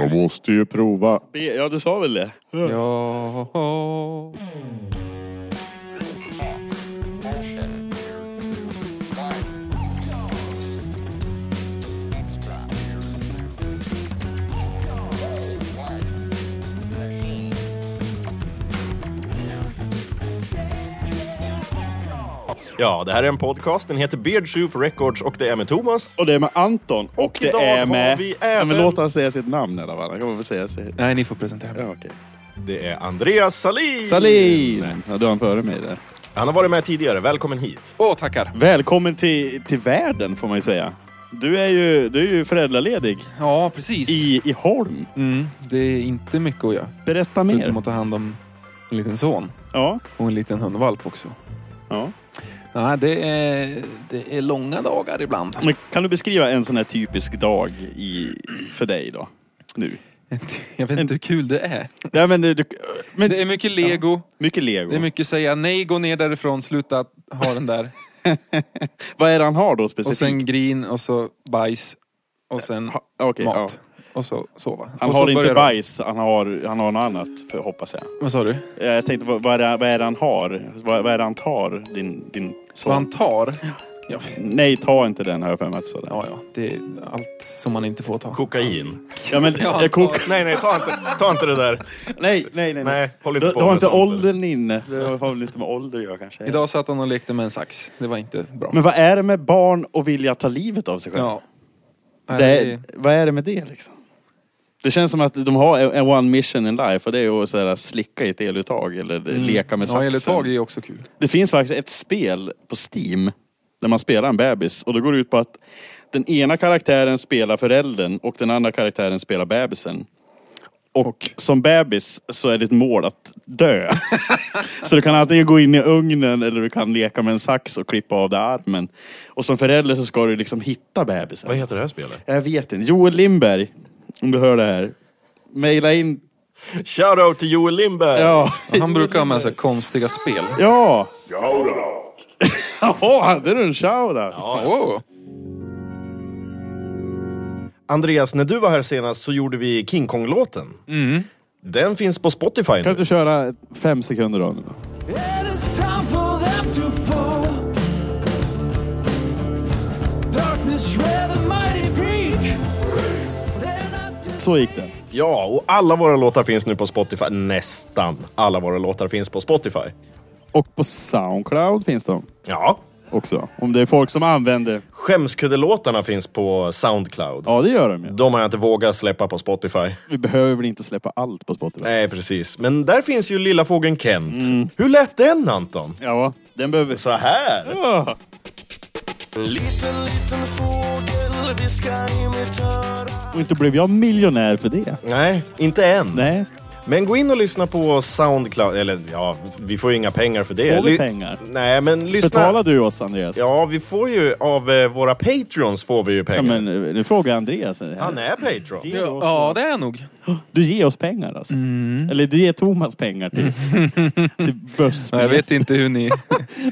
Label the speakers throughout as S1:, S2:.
S1: Jag måste ju prova.
S2: B, ja du sa väl det?
S3: Ja.
S4: Ja, det här är en podcast. Den heter Beard Soup Records och det är med Thomas.
S2: Och det är med Anton. Och, det
S4: idag
S2: är
S4: har
S2: med...
S4: vi
S2: Ja,
S4: även-
S2: men låt han säga sitt namn i alla fall. Han kommer väl säga sitt...
S3: Nej, ni får presentera mig.
S2: Ja, okej.
S4: Det är Andreas Salin!
S2: Salin! Ja, du har han före mig där.
S4: Han har varit med tidigare. Välkommen hit.
S3: Åh, tackar.
S2: Välkommen till, till världen får man ju säga. Du är ju, du är ju föräldraledig
S3: Ja, precis.
S2: i, i Holm.
S3: Mm, det är inte mycket att göra.
S2: Berätta
S3: Förutom
S2: mer.
S3: att ta hand om en liten son
S2: Ja,
S3: och en liten hundvalp också.
S2: ja.
S3: Nej, det är, det är långa dagar ibland.
S2: Men kan du beskriva en sån här typisk dag i, för dig då? Nu.
S3: Jag vet inte hur kul det är.
S2: Nej, men, du, du, men
S3: Det är mycket lego.
S2: mycket lego.
S3: Det är mycket säga nej, gå ner därifrån, sluta ha den där.
S2: Vad är det han har då
S3: Och
S2: specifikt?
S3: sen grin och så bajs. Och sen
S2: Ha- okej,
S3: mat. Och så sova.
S2: Han
S3: och
S2: har
S3: så
S2: inte
S3: börjar de-
S2: bajs, han har, han har något annat för- hoppas jag.
S3: Vad sa du?
S2: Eh, Jag tänkte, vad, vad, är, det, vad är det han har? Vad, vad är det han tar? Din, din son?
S3: Vad han tar? Ja,
S2: Nej, ta inte den har jag för mig att säga.
S3: ja, ja. Det är allt som man inte får ta.
S4: Kokain.
S2: Ja, men
S3: Ja,
S2: jag kokar.
S4: Nej, nej, ta inte, ta inte det där.
S2: Nej, nej, nej.
S4: Nej, håll inte
S2: Du,
S4: på
S2: du har
S4: med
S2: inte
S4: sånt.
S2: åldern inne. Det har väl lite med ålder att göra kanske.
S3: Idag satt han och lekte med en sax. Det var inte bra.
S2: Men vad är det med barn och vilja ta livet av sig själv?
S3: ja. Nej,
S2: Det,
S3: det är-
S2: Vad är det med det liksom? Det känns som att de har en- en one mission in life och det är att så här, slicka i ett eluttag eller leka med
S3: Mm. Ja,
S2: saxen.
S3: eluttag är också kul.
S2: Det finns faktiskt ett spel på Steam där man spelar en bebis och då går det ut på att den ena karaktären spelar föräldern och den andra karaktären spelar bebisen. Och, som bebis så är ditt mål att dö. så du kan antingen gå in i ugnen eller du kan leka med en sax och klippa av dig armen. Och som förälder så ska du liksom hitta bebisen.
S4: Vad heter det här spelet?
S2: Jag vet inte. Joel Lindberg, om du hör det här. Maila in.
S4: Shoutout till Joel Lindberg!
S2: Ja.
S3: Han brukar ha med sig konstiga spel.
S2: Ja. Shoutout. Jaha, hade du en shoutout?
S3: Åh.
S4: Andreas, när du var här senast så gjorde vi King Kong-låten.
S2: Mm.
S4: Den finns på Spotify
S2: Kan
S4: nu.
S2: du köra fem sekunder då?
S5: It is time for them to fall. Darkness where the mighty peak. They're not dis-
S2: Så gick den.
S4: Ja, och alla våra låtar finns nu på Spotify. Nästan alla våra låtar finns på Spotify.
S2: Och på Soundcloud finns de
S4: Ja.
S2: också. Om det är folk som använder.
S4: Skämskuddelåtarna finns på Soundcloud.
S2: Ja, det gör de ju.
S4: De har jag inte vågat släppa på Spotify.
S2: Vi behöver väl inte släppa allt på Spotify?
S4: Nej, precis. Men där finns ju lilla fågeln Kent. Hur lät den, Anton?
S2: Ja, den behöver...
S4: Så här.
S2: Ah.
S5: Liten, liten fågel viskar i mitt öra.
S2: Och inte blev jag miljonär för det.
S4: Nej, inte än.
S2: Nej.
S4: Men gå in och lyssna på Soundcloud. Eller ja, vi får ju inga pengar för det.
S2: Får vi
S4: Ly-
S2: pengar?
S4: Nej, men lyssna.
S2: Betalar du oss, Andreas?
S4: Ja, vi får ju av eh, våra Patreons får vi ju pengar.
S2: Ja, men eh, nu frågar jag Andreas.
S4: Han är Patreon.
S2: Ge oss-
S3: Ja, det är nog.
S2: Du ger oss pengar alltså? Eller du ger Thomas pengar till, till buss.
S3: Jag vet inte hur ni...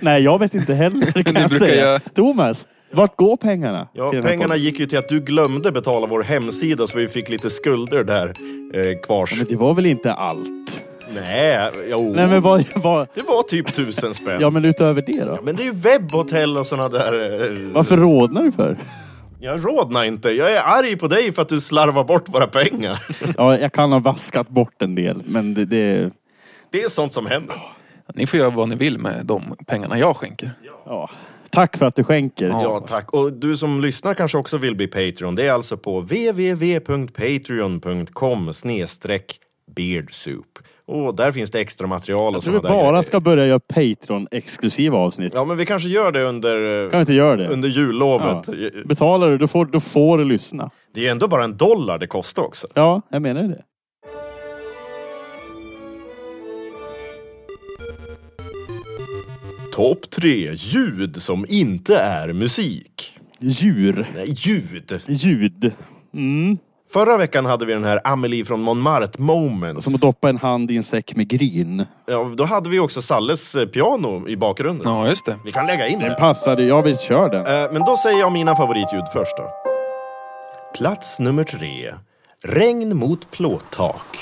S2: Nej, jag vet inte heller kan
S3: Ni
S2: jag
S3: brukar
S2: säga.
S3: göra-
S2: Thomas, vart går pengarna?
S4: Ja,
S2: till den här
S4: pengarna
S2: podden?
S4: gick ju till att du glömde betala vår hemsida så vi fick lite skulder där eh, kvars.
S2: Men det var väl inte allt?
S4: Nej, jo.
S2: Nej, men vad... vad...
S4: Det var typ tusen spänn.
S2: Ja, men utöver det då?
S4: Men det är ju webbhotell och såna där... eh,
S2: Varför rodnar du för?
S4: Jag rådnar inte. Jag är arg på dig för att du slarvar bort våra pengar.
S2: Ja, jag kan ha vaskat bort en del, men det... det
S4: Det är sånt som händer.
S3: Ni får göra vad ni vill med de pengarna jag skänker.
S2: ja. Tack för att du skänker.
S4: Ja, tack. Och du som lyssnar kanske också vill bli Patreon. Det är alltså på www.patreon.com snedstreck beardsoup. Och där finns det extra material och
S2: Jag tror
S4: såna
S2: vi
S4: där grejer.
S2: bara ska börja göra Patreon-exklusiva avsnitt.
S4: Ja, men vi kanske gör det under, eh,
S2: Kan vi inte göra det?
S4: under
S2: Ja.
S4: jullovet. Eh,
S2: Betalar du, då får, då får du lyssna.
S4: Det är ju ändå bara en dollar det kostar också.
S2: Ja, jag menar ju det.
S4: Topp tre ljud som inte är musik.
S2: Djur.
S4: Nej, ljud.
S2: Ljud. Mm.
S4: Förra veckan hade vi den här Amelie från Montmartre moments.
S2: Som att doppa en hand i en säck med gryn.
S4: ja, då hade vi också Salles eh, piano i bakgrunden.
S3: Ja, just det.
S4: Vi kan lägga in
S2: Den
S4: det.
S2: passade, jag vill köra den.
S4: Eh, Men då säger jag mina favoritljud först då. Plats nummer tre. Regn mot plåttak.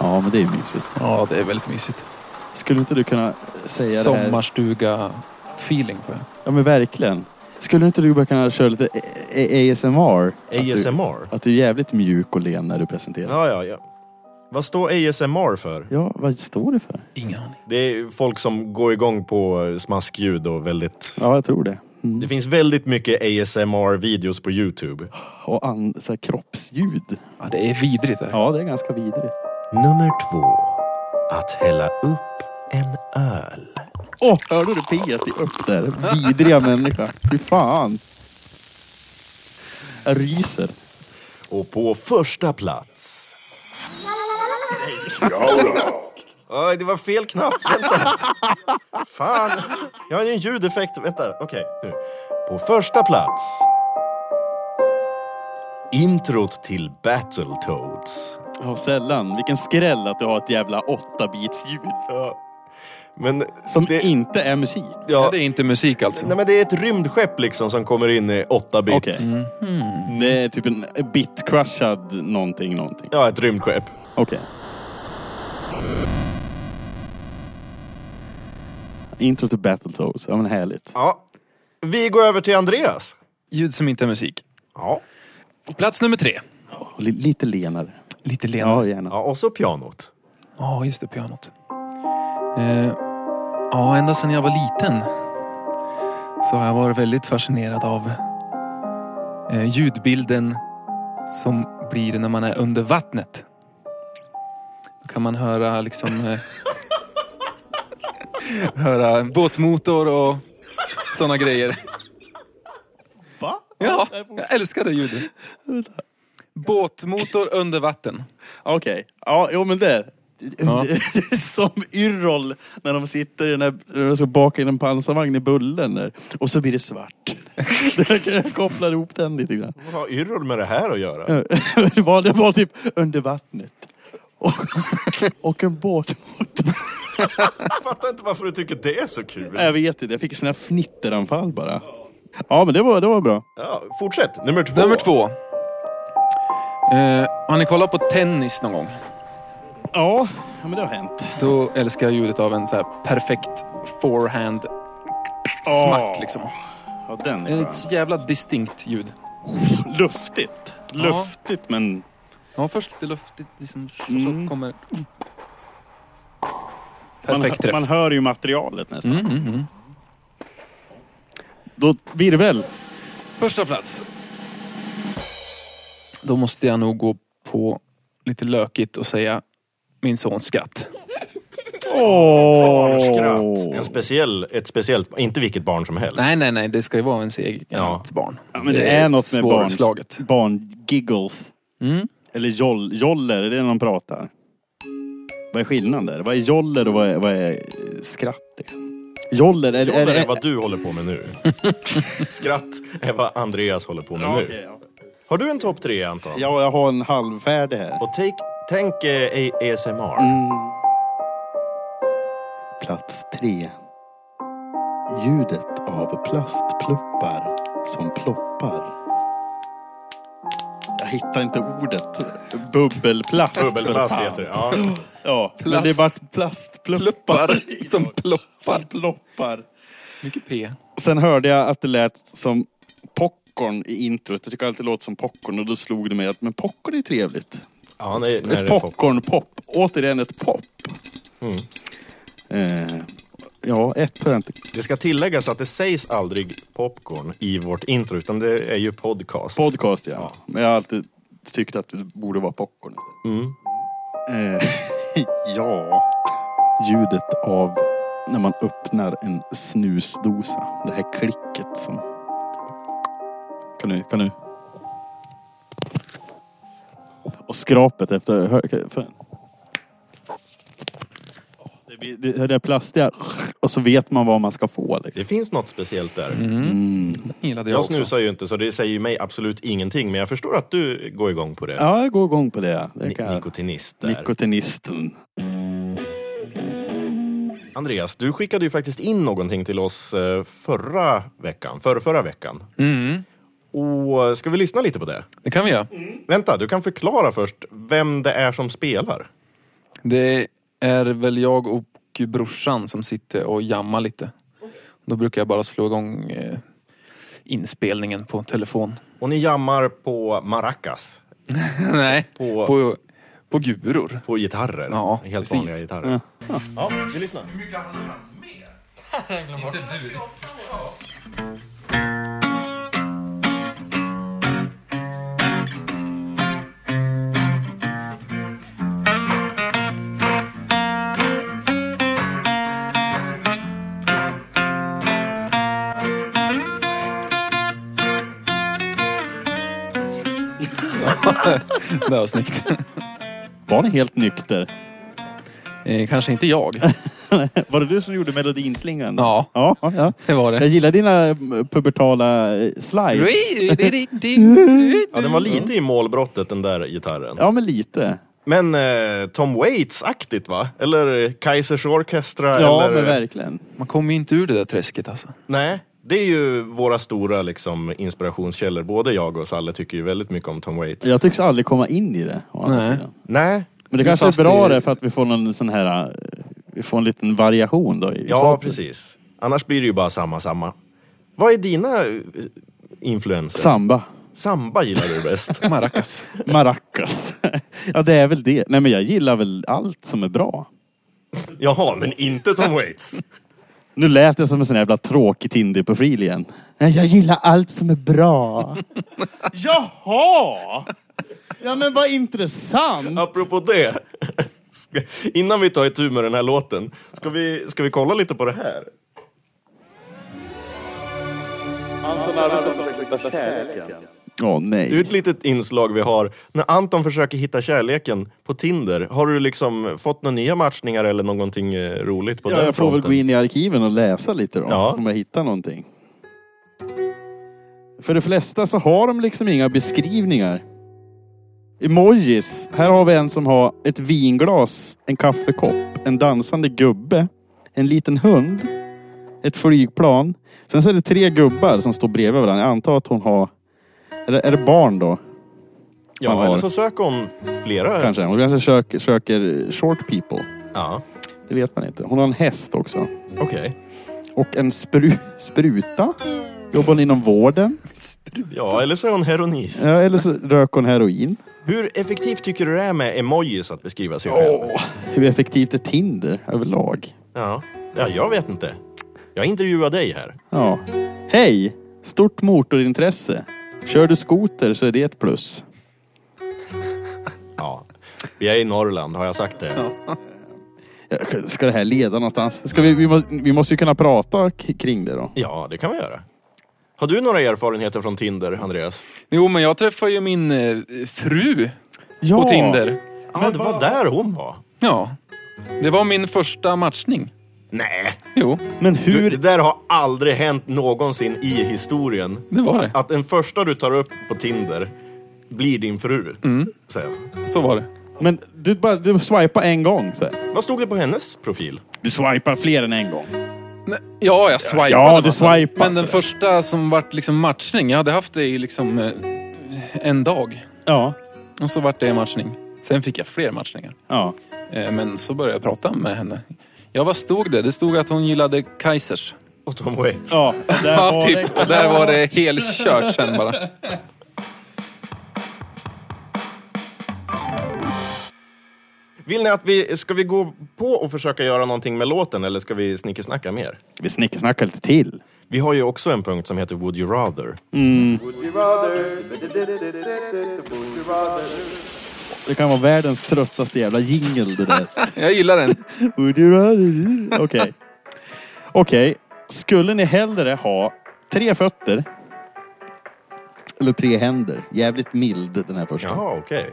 S2: Ja, men det är ju mysigt.
S3: Ja, det är väldigt mysigt.
S2: Skulle inte du kunna säga det här?
S3: Sommarstuga-feeling får jag.
S2: Ja, men verkligen. Skulle inte du bara kunna köra lite A- A- ASMR? Att
S4: ASMR?
S2: du, att du är jävligt mjuk och len när du presenterar. Ja.
S4: Ja, ja, ja. Vad står ASMR för?
S2: vad står det för?
S3: Ingen aning.
S4: Det är folk som går igång på eh, smaskljud och väldigt...
S2: Ja, jag tror det. Mm.
S4: Det finns väldigt mycket ASMR-videos på Youtube.
S2: Och an, så här kroppsljud.
S3: Ja, det är vidrigt. Där.
S2: Ja, det är ganska vidrigt.
S4: Nummer två. Att hälla upp en öl.
S2: Åh, hörde du pigget i upp där? Vidriga människa. Fy fan. Jag ryser.
S4: Och på första plats... Oj, det var fel knapp. Vänta. Fan. Jag har ju en ljudeffekt. Vänta, okej. nu. På första plats... Introt till Battletoads.
S2: Ja, sällan. Vilken skräll att du har ett jävla 8-bits-ljud.
S4: Ja. Men
S2: Som
S4: det,
S2: inte är musik.
S4: ja,
S3: Det är inte musik alltså.
S4: nej, men det är ett rymdskepp liksom som kommer in i 8 bits.
S2: Okej. Mm. Det är typ en bit-crushad någonting, någonting.
S4: Ja, ett rymdskepp.
S2: Okej. Intro till Battletoads. Ja, men härligt.
S4: Ja. Vi går över till Andreas.
S3: Ljud som inte är musik.
S4: Ja.
S3: Plats nummer tre.
S2: Och li- lite lenare.
S3: Lite
S2: Ja,
S3: lenare.
S2: gärna.
S4: ja och så pianot.
S3: Ja, just det. Pianot. Eh, ja, ända sedan jag var liten så har jag varit väldigt fascinerad av eh, ljudbilden som blir när man är under vattnet. Då kan man höra liksom... Eh, höra båtmotor och sådana grejer.
S2: Va?
S3: Ja, jag älskar det ljudet. Båtmotor under vatten.
S2: Okej. Ja, jo men det. Som Yrrol när de sitter i den här, när de ska baka in en pansarvagn i Bullen där. Och så blir det svart. Jag kopplar ihop den lite grann.
S4: Vad har Yrrol med det här att göra?
S2: Eh. Det var, det var typ under vattnet. Och, och en båt.
S4: Jag fattar inte varför du tycker det är så kul.
S2: Jag vet inte, jag fick såna här fnitteranfall bara. Ja men det var, det var bra.
S4: Ja, fortsätt, nummer två.
S3: Nummer två. Eh, har ni kollat på tennis någon gång?
S2: Ja, ja men det har hänt.
S3: Då älskar jag ljudet av en så här perfekt forehand smack
S2: Ah.
S3: liksom.
S2: Ja, den
S3: Det
S2: är
S3: är
S2: bra.
S3: ett så jävla distinkt ljud.
S2: Luftigt. Luftigt men...
S3: Ja, först lite luftigt liksom, så
S2: Mm.
S3: kommer...
S2: Man,
S3: Perfekt
S2: hör-
S3: träff.
S2: man hör ju materialet nästan.
S3: Mm, mm, mm.
S2: Då virvel.
S3: Första plats. Då måste jag nog gå på lite lökigt och säga min sons skratt.
S4: Barnskratt. En speciell, ett speciellt, inte vilket barn som helst.
S3: Nej, nej, nej. Det ska ju vara en seger
S4: Ja.
S3: ett barn.
S2: Mm. Ja, men det, är något med barn,
S3: svårslaget.
S2: barn-giggles.
S3: Mm.
S2: Eller joll, joller, är det när de pratar? Vad är skillnaden där? Vad är joller och vad är, vad är skratt? Liksom? Joller, är,
S4: Joller
S2: är,
S4: är
S2: är,
S4: vad du håller på med nu. Skratt är vad Andreas håller på med
S2: Ja, okej,
S4: nu.
S2: ja.
S4: Har du en topp tre Anton?
S2: Ja, jag har en halvfärdig här.
S4: Och take, tänk eh, A- ASMR.
S2: Plats tre. Ljudet av plastpluppar som ploppar. Jag hittar inte ordet. Bubbelplast.
S4: Bubbelplast
S2: för fan.
S4: heter det. Ja.
S2: Ja, men
S3: Plast-
S2: det är bara plastpluppar.
S3: som ploppar.
S2: Som ploppar.
S3: Mycket P.
S2: Sen hörde jag att det lät som popcorn i introt. Jag tycker alltid det låter som popcorn och då slog det mig att men popcorn är trevligt.
S4: Ja, nej, nej,
S2: Ett
S4: det är Mm. topp.
S2: popcorn-pop. Återigen ett pop. Eh, ja, ett har jag inte.
S4: Det ska tilläggas att det sägs aldrig popcorn i vårt intro, utan det är ju podcast.
S2: Podcast ja. Men jag har alltid tyckt att det borde vara popcorn istället. Eh, ja. Ljudet av när man öppnar en snusdosa. Det här klicket som... Kan du, kan du? Och skrapet efter... Hör, för... Det, blir, det, det är plastiga och så vet man vad man ska få. Liksom.
S4: det finns något speciellt där.
S3: Den gillade jag,
S4: Jag
S3: också.
S4: snusar ju inte, så det säger ju mig absolut ingenting. Men jag förstår att du går igång på det.
S2: Ja, jag går igång på det. det
S4: Ni-
S2: kan jag.
S4: Nikotinist där.
S2: Nikotinisten.
S4: Andreas, du skickade ju faktiskt in någonting till oss eh, förra veckan. Förra, förra veckan.
S3: Mm.
S4: Och ska vi lyssna lite på det?
S3: Det kan vi göra.
S4: Vänta, du kan förklara först vem det är som spelar.
S3: Det är väl jag och brorsan som sitter och jammar lite. Då brukar jag bara slå igång eh, inspelningen på telefon.
S4: Och ni jammar på maracas,
S3: Nej,
S4: På-
S3: på, på, guror.
S4: på gitarrer.
S3: Ja,
S4: Helt
S3: precis.
S4: vanliga gitarrer. Ja. vi lyssnar.
S3: Det var snyggt.
S2: Var ni helt nykter?
S3: Eh, Kanske inte jag.
S2: Var det du som gjorde melodinslingan?
S3: Ja.
S2: ja, ja.
S3: Det var
S2: Jag
S3: det.
S2: gillar dina eh, pubertala eh, slides.
S4: Ja, den var lite i målbrottet den där gitarren.
S2: Ja, men lite.
S4: Men eh, Tom Waits-aktigt va? Eller Kaisers Orchestra?
S2: Ja,
S4: eller...
S2: men verkligen.
S3: Man kommer ju inte ur det där träsket alltså.
S4: Nej, det är ju våra stora liksom, inspirationskällor. Både jag och Salle tycker ju väldigt mycket om Tom Waits.
S2: Jag tycks aldrig komma in i det. Å andra
S3: Nej.
S2: sidan.
S4: Nej,
S2: Men det
S3: Men
S2: kanske
S3: fast
S2: är bra
S3: det-
S2: det för att vi får någon sån här... eh, Vi får en liten variation då. I i
S4: ja
S2: pratet.
S4: precis. Annars blir det ju bara samma, samma. Vad är dina eh, influenser?
S2: Samba.
S4: Samba gillar du bäst.
S3: Maracas.
S2: Maracas. ja, det är väl det. Nej, men jag gillar väl allt som är bra.
S4: Jaha, men inte Tom Waits.
S2: Nu lät jag som en sån här jävla tråkig Tinder-profil igen. Nej, jag gillar allt som är bra. Jaha! Ja, men vad intressant.
S4: Apropå det. ska- Innan vi tar itu med den här låten, ska vi, ska vi kolla lite på det här?
S2: Åh,
S4: Det är
S2: nej.
S4: ett litet inslag vi har. När Anton försöker hitta kärleken på Tinder, har du liksom fått några nya matchningar eller någonting eh, roligt på
S2: Ja,
S4: den
S2: jag får väl gå in i arkiven och läsa lite då.
S4: Ja.
S2: Om jag hittar någonting. För de flesta så har de liksom inga beskrivningar. Emojis. Här har vi en som har ett vinglas, en kaffekopp, en dansande gubbe, en liten hund, ett flygplan. Sen så är det tre gubbar som står bredvid varandra. Jag antar att hon har... Eller är det barn då? man
S4: Ja,
S2: har.
S4: eller så söker hon flera.
S2: Kanske. Hon kanske söker, söker short people.
S4: Ja,
S2: Det vet man inte. Hon har en häst också.
S4: okej.
S2: och en spru spruta. Jobbar hon inom vården?
S4: Ja, eller så är hon heroinist.
S2: Ja, eller så rök hon heroin.
S4: Hur effektivt tycker du det är med emojis att beskriva sig själv?
S2: Åh, hur effektivt är Tinder överlag?
S4: Ja. ja, jag vet inte. Jag intervjuar dig här.
S2: Ja. Hej! Stort motorintresse. Kör du skoter så är det ett plus.
S4: Ja. Vi är i Norrland, har jag sagt det?
S2: Ja, Ska det här leda någonstans? Ska vi, vi, måste, vi måste ju kunna prata k- kring det då.
S4: Ja, det kan vi göra. Har du några erfarenheter från Tinder, Andreas?
S3: Jo, men jag träffade ju min eh, fru
S2: Ja.
S3: på Tinder.
S4: Ja, det var där hon var.
S3: Ja. Det var min första matchning.
S4: Nej,
S3: Jo,
S2: Men
S4: du,
S2: hur...
S4: det där har aldrig hänt någonsin i historien.
S3: det var det.
S4: Att den första du tar upp på Tinder blir din fru. Sen.
S3: Så var det.
S2: Men du, bara, du swipar en gång. Så här.
S4: Vad stod det på hennes profil?
S2: Du swipar fler än en gång.
S3: Nej, Ja, jag swipade.
S2: Ja, du
S3: massa.
S2: swipade.
S3: Men den första som vart liksom matchning, jag hade haft det i liksom eh, en dag.
S2: Ja.
S3: Och så vart det matchning. Sen fick jag fler matchningar.
S2: Ja.
S3: Eh, Men så började jag prata med henne. Ja, vad stod det? Det stod att hon gillade Kaisers.
S4: Och Tom Waits.
S2: Ja, där
S3: Ja,
S2: var
S3: typ.
S2: det.
S3: Och där var det helkört sen bara.
S4: Vill ni att vi, ska vi gå på och försöka göra någonting med låten eller ska vi snickesnacka mer?
S2: Vi snickersnackar lite till.
S4: Vi har ju också en punkt som heter Would you rather.
S2: Det kan vara världens tröttaste jävla jingle det där.
S3: Jag gillar den.
S2: Would you rather- Okej. Okej. Skulle ni hellre ha tre fötter eller tre händer? Jävligt mild den här första.
S4: Jaha, okej.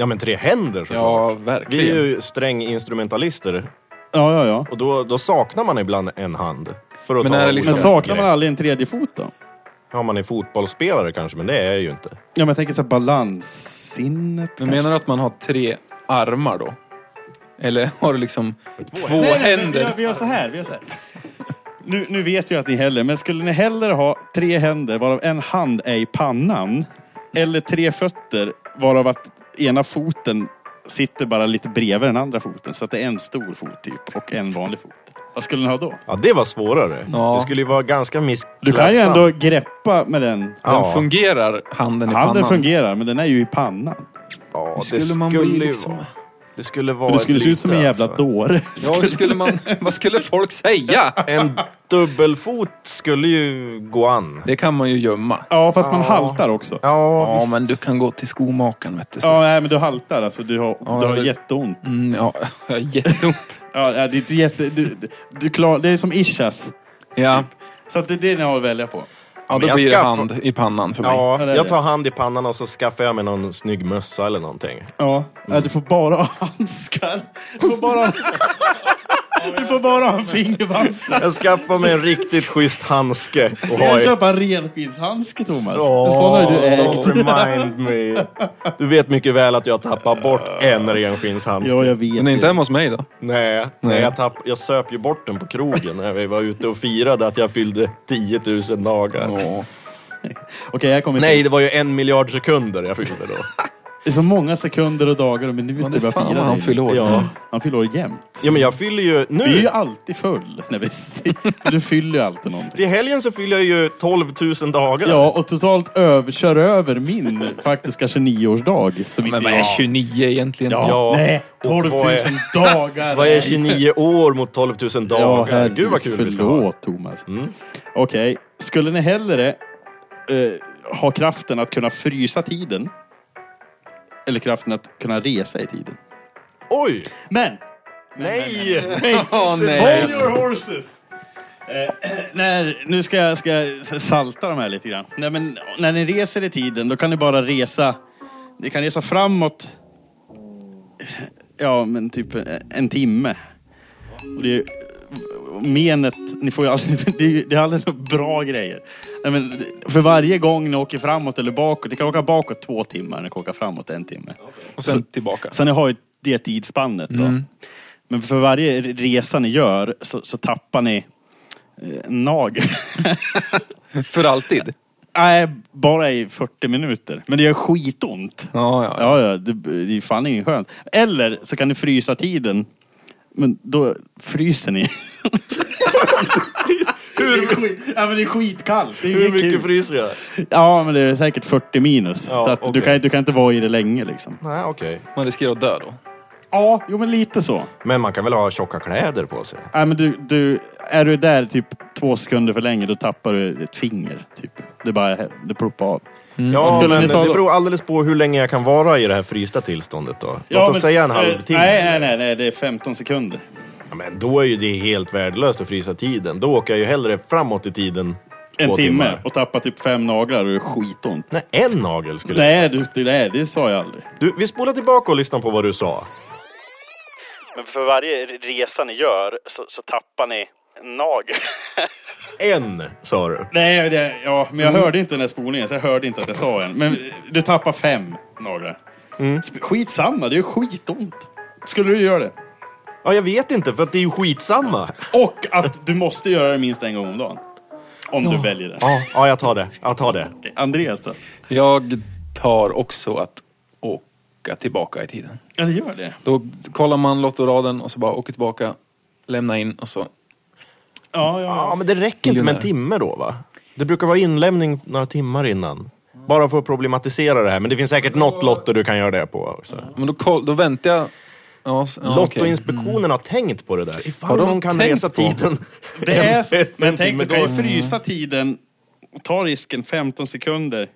S4: Ja, men tre händer
S3: Mm.
S4: såklart.
S3: Ja,
S4: Vi är
S3: verkligen.
S4: ju stränginstrumentalister
S2: ja, ja. ja.
S4: och då, då saknar man ibland en hand. För att
S3: Men
S4: ta
S3: är det
S4: olika
S2: Men
S3: liksom-
S2: saknar
S4: grepp.
S2: man aldrig en tredje fot då?
S4: Ja, man är fotbollsspelare kanske, men det är jag ju inte.
S2: Ja, men jag tänker så här balanssinnet.
S3: Men menar du att man har tre armar då? Eller har du liksom två
S2: Nej, nej, nej, vi
S3: händer?
S2: gör- Vi gör så här. Vi gör så här. Nu, nu vet jag att ni heller, men skulle ni hellre ha tre händer varav en hand är i pannan? Eller tre fötter varav att ena foten sitter bara lite bredvid den andra foten. Så att det är en stor fot typ och en vanlig fot. Vad skulle ni ha då?
S4: Ja, det var svårare.
S3: Ja.
S4: Det skulle ju vara ganska missklassat.
S2: Du kan ju ändå greppa med den.
S3: Den
S4: Ja,
S3: fungerar, handen i
S2: Handen
S3: pannan.
S2: fungerar, men den är ju i pannan.
S4: ja det
S3: Skulle man
S4: skulle
S3: bli
S4: ju
S3: liksom-
S4: vara... Det skulle vara
S2: Men du skulle
S4: ett
S2: se ut som en
S4: lite,
S2: jävla
S4: alltså.
S2: dåre.
S3: Ja, hur skulle man, vad skulle folk säga?
S4: En dubbelfot skulle ju gå an.
S3: Det kan man ju gömma.
S2: Ja, fast man haltar också.
S4: Ja,
S3: Ja, men du kan gå till skomakaren vet du. Så.
S2: Ja, nej, men du haltar alltså. Du har,
S3: Ja,
S2: du har
S3: det-
S2: jätteont.
S3: Mm, ja, jag har jätteont.
S2: Ja, ja, det är inte jätte... Du, du klar, det är som ischias.
S3: Ja,
S2: Så att det är det ni har att välja på.
S3: ja då
S4: jag
S3: blir det
S4: ska få-
S3: hand i pannan för mig.
S4: ja,
S2: Ja, det är
S4: jag
S2: det.
S4: tar hand i pannan och så skaffar jag mig någon snygg mössa eller någonting.
S2: Ja. ja du får bara ha handskar. Du får bara ha, du får bara ha en fingervante.
S4: Jag skaffar mig en riktigt schysst handske och har
S2: Jag
S4: i...
S2: köper en renskinshandske, Thomas. en sån har
S4: Åh,
S2: ju du ägt.
S4: don't remind me. Du vet mycket väl att jag tappar bort en renskinshandske.
S2: Ja, jag vet.
S3: Den är inte
S2: det.
S3: hemma hos mig då?
S4: Nej,
S3: Nej.
S4: nej. Jag, tapp, jag söp ju bort den på krogen när vi var ute och firade att jag fyllde 10 000 dagar.
S3: Ja.
S2: Okej, jag kommer
S4: Nej,
S2: till.
S4: det var ju en miljard sekunder jag fyllde då.
S2: Det är så många sekunder och dagar och minuter
S3: Men det är
S2: vi har
S3: fan
S2: firat
S3: vad han
S2: dig.
S3: fyller år.
S4: Ja.
S2: Han fyller år jämt.
S4: ja, men jag fyller ju nu.
S2: Du är ju alltid full när vi sitter. Du fyller ju alltid någonting.
S4: Till helgen så fyller jag ju 12 000 dagar.
S2: Ja, och totalt över, kör över min faktiska 29-årsdag. Som
S3: Men
S2: inte
S3: vad
S2: jag...
S3: är 29 egentligen?
S2: Ja,
S4: Ja.
S2: nej,
S4: Och
S2: 12 000
S4: vad är-
S2: dagar.
S4: Vad är 29 år mot 12 000
S2: Ja,
S4: dagar?
S2: herregud,
S4: Gud vad kul
S2: förlåt,
S4: vi ska ha.
S2: Thomas.
S4: Mm.
S2: Okej, skulle ni hellre eh, ha kraften att kunna frysa tiden? Eller kraften att kunna resa i tiden?
S4: Oj!
S2: Men!
S4: Nej!
S2: Hey,
S3: Åh, nej.
S2: hold your horses! Eh, när, nu ska jag, ska jag salta de här lite grann. Nej, men, när ni reser i tiden, då kan ni bara resa... Ni kan resa framåt... Ja, men typ en timme. Och det är ju, menet, ni får ju aldrig, det är, ju- det är aldrig några bra grejer. Nej, men för varje gång ni åker framåt eller bakåt, ni kan åka bakåt två timmar, ni kan åka framåt en timme.
S3: Och sen tillbaka.
S2: Så ni har ju det tidsspannet då. Men för varje resa ni gör så, så tappar ni eh, en nagel.
S3: För alltid?
S2: Nej, bara i 40 minuter. Men det gör skitont.
S3: Ja, ja.
S2: Ja, ja, det, det är fan ingen skönt. Eller så kan ni frysa tiden. Men då fryser ni. Hur mycket? Ja, men det är skitkallt. Det är ju
S4: Hur
S2: inget
S4: mycket
S2: kul.
S4: fryser jag?
S2: Ja, men det är säkert 40 minus.
S4: Ja,
S2: så att du,
S4: okej.
S2: kan, du kan inte vara i det länge liksom.
S4: Nej, okej.
S3: Man riskerar att dö då.
S2: Ja, jo men lite så.
S4: Men man kan väl ha tjocka kläder på sig?
S2: Nej, men du, du, är du där typ två sekunder för länge, då tappar du ett finger. Typ. Det bara det ploppar av.
S4: Ja,
S2: Mm. Skulle
S4: men
S2: ni ta
S4: det
S2: då?
S4: beror alldeles på hur länge jag kan vara i det här frysta tillståndet då. Låt oss säga en
S2: eh,
S4: halvtimme.
S2: Nej, nej, nej, nej, det är 15 sekunder.
S4: Ja, men då är ju det helt värdelöst att frysa tiden. Då åker jag ju hellre framåt i tiden.
S2: En
S4: två
S2: timme
S4: timmar.
S2: och tappar typ fem naglar och det är skitont.
S4: Nej, en nagel skulle jag...
S2: Nej, du, det- nej, det sa jag aldrig.
S4: Du, vi spolar tillbaka och lyssnar på vad du sa.
S2: Men för varje resa ni gör så, tappar ni en nagel.
S4: En, sa du.
S2: nej, det, ja, men jag hörde inte den där spolningen så jag hörde inte att jag sa en. Men du tappar fem naglar. Sp- Skitsamma, det är ju skitont. Skulle du göra det?
S4: Ja, jag vet inte, för att det är ju skitsamma.
S2: Och att du måste göra det minst en gång om dagen. Om du väljer det.
S4: Ja, ja jag tar det. Jag tar det.
S2: Andreas då?
S3: Jag tar också att åka tillbaka i tiden.
S2: Ja, det gör det.
S3: Då kollar man lottoraden och så bara åker tillbaka, lämnar in och så...
S2: Ja, ja, ja.
S4: Ja, men det räcker inte med
S3: Miljonär.
S4: en timme då, va? Det brukar vara inlämning några timmar innan. Bara för att problematisera det här, men det finns säkert något lotto du kan göra det på också.
S3: Men då, koll, då väntar jag... Ja, s- ja, okej.
S4: Lottoinspektionen har tänkt på det där. Ifall
S3: Har de
S4: någon kan
S3: tänkt
S4: resa
S3: på-
S4: tiden.
S2: Det är, så-
S4: en- en
S2: men tänk,
S4: timme
S2: du kan ju
S4: då.
S2: frysa tiden och ta risken 15 sekunder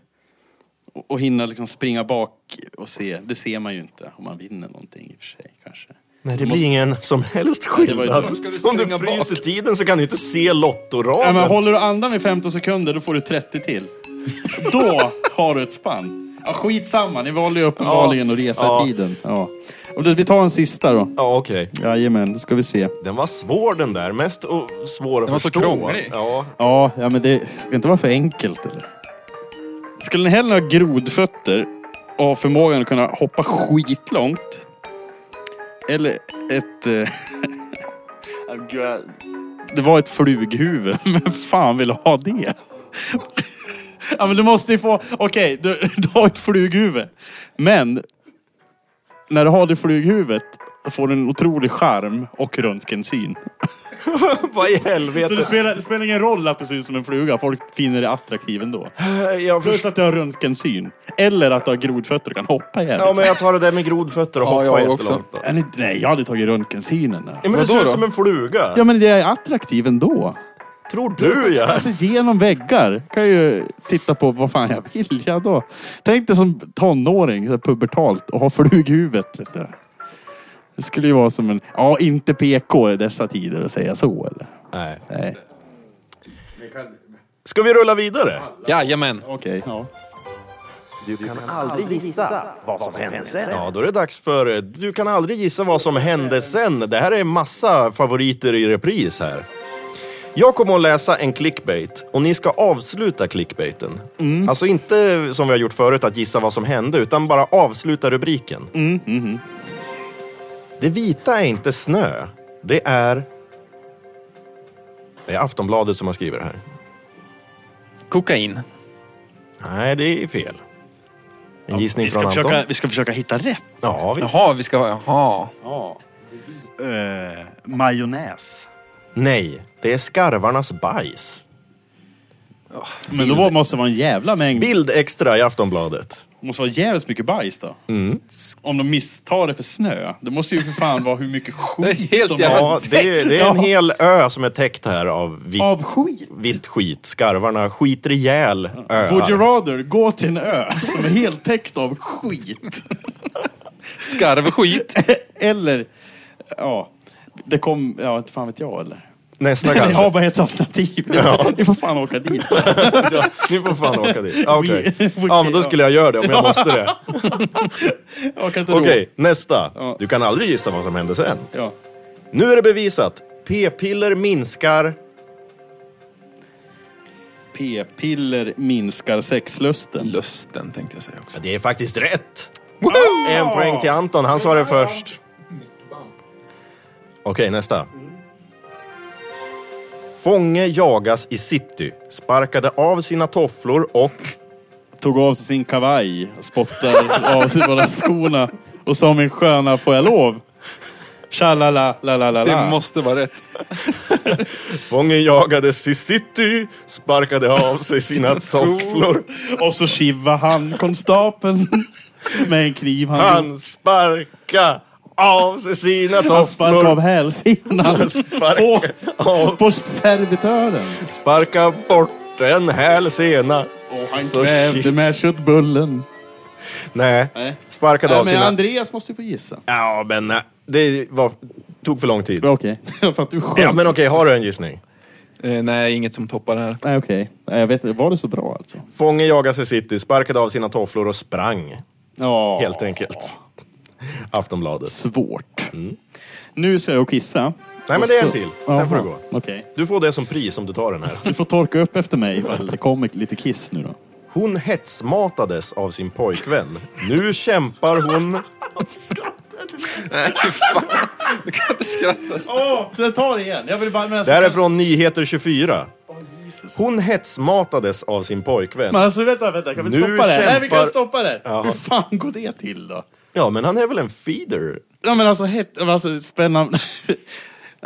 S2: och, och hinna liksom springa bak och se. Det ser man ju inte om man vinner någonting i och för sig kanske.
S4: Nej, det blir ingen som helst skillnad.
S2: det var ju dumt.
S3: Ska du
S4: Om du
S3: springa
S4: fryser tiden så kan du inte se
S2: Ja,
S4: lottoraden.
S2: men håller du andan i 15 sekunder, då får du 30 till. Då har du ett spann. Ja, skitsamma, ni valde ju uppenbarligen att resa
S4: Ja.
S2: i tiden. Ja. Och då- Vi tar en sista då.
S4: Ja, okej.
S2: Jajamän, då ska vi se.
S4: Den var svår den där. Mest och svår att
S3: var så
S4: förstå.
S3: krånglig.
S4: Ja.
S2: Ja, ja men det ska inte vara för enkelt eller? Skulle ni hellre ha grodfötter och ha förmågan att kunna hoppa skitlångt? Eller ett... Eh, Ja, gud, jag det var ett flughuvud. Men fan vill ha det? Ja men du måste ju få, okej du, du har ett flughuvud. Men när du har det flughuvudet får du en otrolig charm och röntgensyn.
S4: Vad i
S2: Så det
S4: helvete?
S2: spelar, det spelar ingen roll att du ser ut som en fluga, folk finner det attraktiv ändå.
S4: Jag
S2: Plus
S4: förstår.
S2: att du har röntgensyn. Eller att du har grodfötter och kan hoppa jävligt.
S4: Ja, men jag tar det där med grodfötter och
S3: Ja,
S4: hoppar
S3: jag
S4: jättelångt.
S3: också.
S4: då.
S2: Eller, nej, jag hade tagit röntgensynen. där.
S4: Ja, men det
S3: Vadå
S4: ser
S3: då?
S4: ut som en fluga.
S2: Ja men jag är attraktiv ändå.
S4: Tror du ja?
S2: Alltså genom väggar. Kan jag ju titta på vad fan jag vill. Ja, då. Tänk dig som tonåring, så här pubertalt och ha flughuvudet. Vet du. Det skulle ju vara som en... Ja, inte PK i dessa tider att säga så eller?
S4: Nej.
S2: Nej.
S4: Ska vi rulla vidare?
S3: Jajamän.
S2: Okej. Ja.
S4: Ja, då är det dags för Du kan aldrig gissa vad som hände sen. Det här är massa favoriter i repris här. Jag kommer att läsa en clickbait och ni ska avsluta clickbaiten.
S2: Mm.
S4: Alltså inte som vi har gjort förut, att gissa vad som hände, utan bara avsluta rubriken.
S2: Mm,
S4: Det vita är inte snö, det är... Det är Aftonbladet som har skrivit det här.
S3: Kokain.
S4: Nej, det är fel. En gissning
S2: Vi, ska
S4: från Anton.
S2: försöka, vi ska försöka hitta rätt.
S4: Ja, visst.
S3: Jaha, vi ska ha... Jaha.
S2: Uh, majonnäs.
S4: Nej, det är skarvarnas bajs.
S2: Men då måste det vara en jävla mängd.
S4: Bild extra i Aftonbladet.
S2: måste vara jävligt mycket bajs då.
S4: Mm.
S2: Om de misstar det för snö. Det måste ju för fan vara hur mycket
S3: Det
S2: skit
S3: är helt
S2: som
S3: jävla-
S2: har...
S4: Ja, det, det är en hel ö som är täckt här av vitt,
S2: Av skit.
S4: vitt skit. Skarvarna skiter ihjäl
S2: Would you
S4: öar.
S2: rather gå till en ö som är helt täckt av skit?
S3: Skarvskit.
S2: Eller, ja, det kom, ja inte fan vet jag eller?
S4: Nästa
S2: Eller jag har
S4: kanske.
S2: bara ett alternativ. Ni får fan åka dit.
S4: Ni får fan åka dit. Ah, okej.
S2: We- we-
S4: Ja, men då skulle jag göra det om jag måste det.
S2: Jag kan inte
S4: Okej,
S2: då.
S4: nästa.
S2: Ja.
S4: Du kan aldrig gissa vad som hände sen.
S2: Ja.
S4: Nu är det bevisat. P-piller minskar.
S2: P-piller minskar sexlusten.
S3: Lusten tänkte jag säga också.
S4: Ja, Det är faktiskt rätt. En poäng till Anton, han sa det först. Okej, nästa. Fånge jagas i city, sparkade av sina tofflor och...
S2: Tog av sig sin kavaj, spottade av sig båda skorna och sa min sköna, får jag lov? Tja la la la la la
S3: Det
S2: la.
S3: måste vara rätt.
S4: Fången jagades i city, sparkade av sig sina tofflor.
S2: Och så kiva han konstapeln med en kniv han,
S4: Han sparkade av sig sina
S2: Han sparkade av
S4: tofflor.
S2: hälsenan på,
S4: Sparkade av-
S2: på servitören.
S4: Sparkade bort en häl sena.
S2: Och han
S4: Så
S2: kvävde
S4: shit.
S2: med köttbullen.
S4: Nej,
S2: Nej.
S4: sparkade av sina...
S2: Andreas måste ju få gissa.
S4: Ja, men nej. det var... tog för lång tid.
S2: Okej. För att du skönt.
S4: Ja, men okej, har du en gissning?
S3: Eh, nej, inget som toppar det här.
S2: Nej, okej. Nej, Jag vet inte. Var det så bra alltså?
S4: Fånge jagas i city, sparkade av sina tofflor och sprang.
S2: Ja.
S4: Helt enkelt. Aftonbladet.
S2: Svårt. Nu ska jag kissa.
S4: Mm. Nej, men
S2: Och
S4: det är
S2: så-
S4: en till. Sen får du
S2: Jaha,
S4: gå.
S2: Okej.
S4: Du får det som pris om du tar den här.
S2: Du får torka upp efter mig ifall det kommer lite kiss nu då.
S4: Hon hetsmatades av sin pojkvän. Nu kämpar hon...
S3: Nej, fy fan. Du kan inte skratta. så.
S2: Åh, oh, ta det igen. Jag vill bara... alltså-
S4: Det här är från Nyheter 24. Hon hetsmatades av sin pojkvän.
S2: Men alltså vänta, vänta, kan vi
S4: Nu
S2: stoppa det? här? Nej, vi kan
S4: kämpar-
S2: stoppa det. här.
S4: Jaha.
S2: Hur fan går det till då?
S4: Ja, men han är väl en feeder?
S2: Ja men alltså, het, men alltså spännande.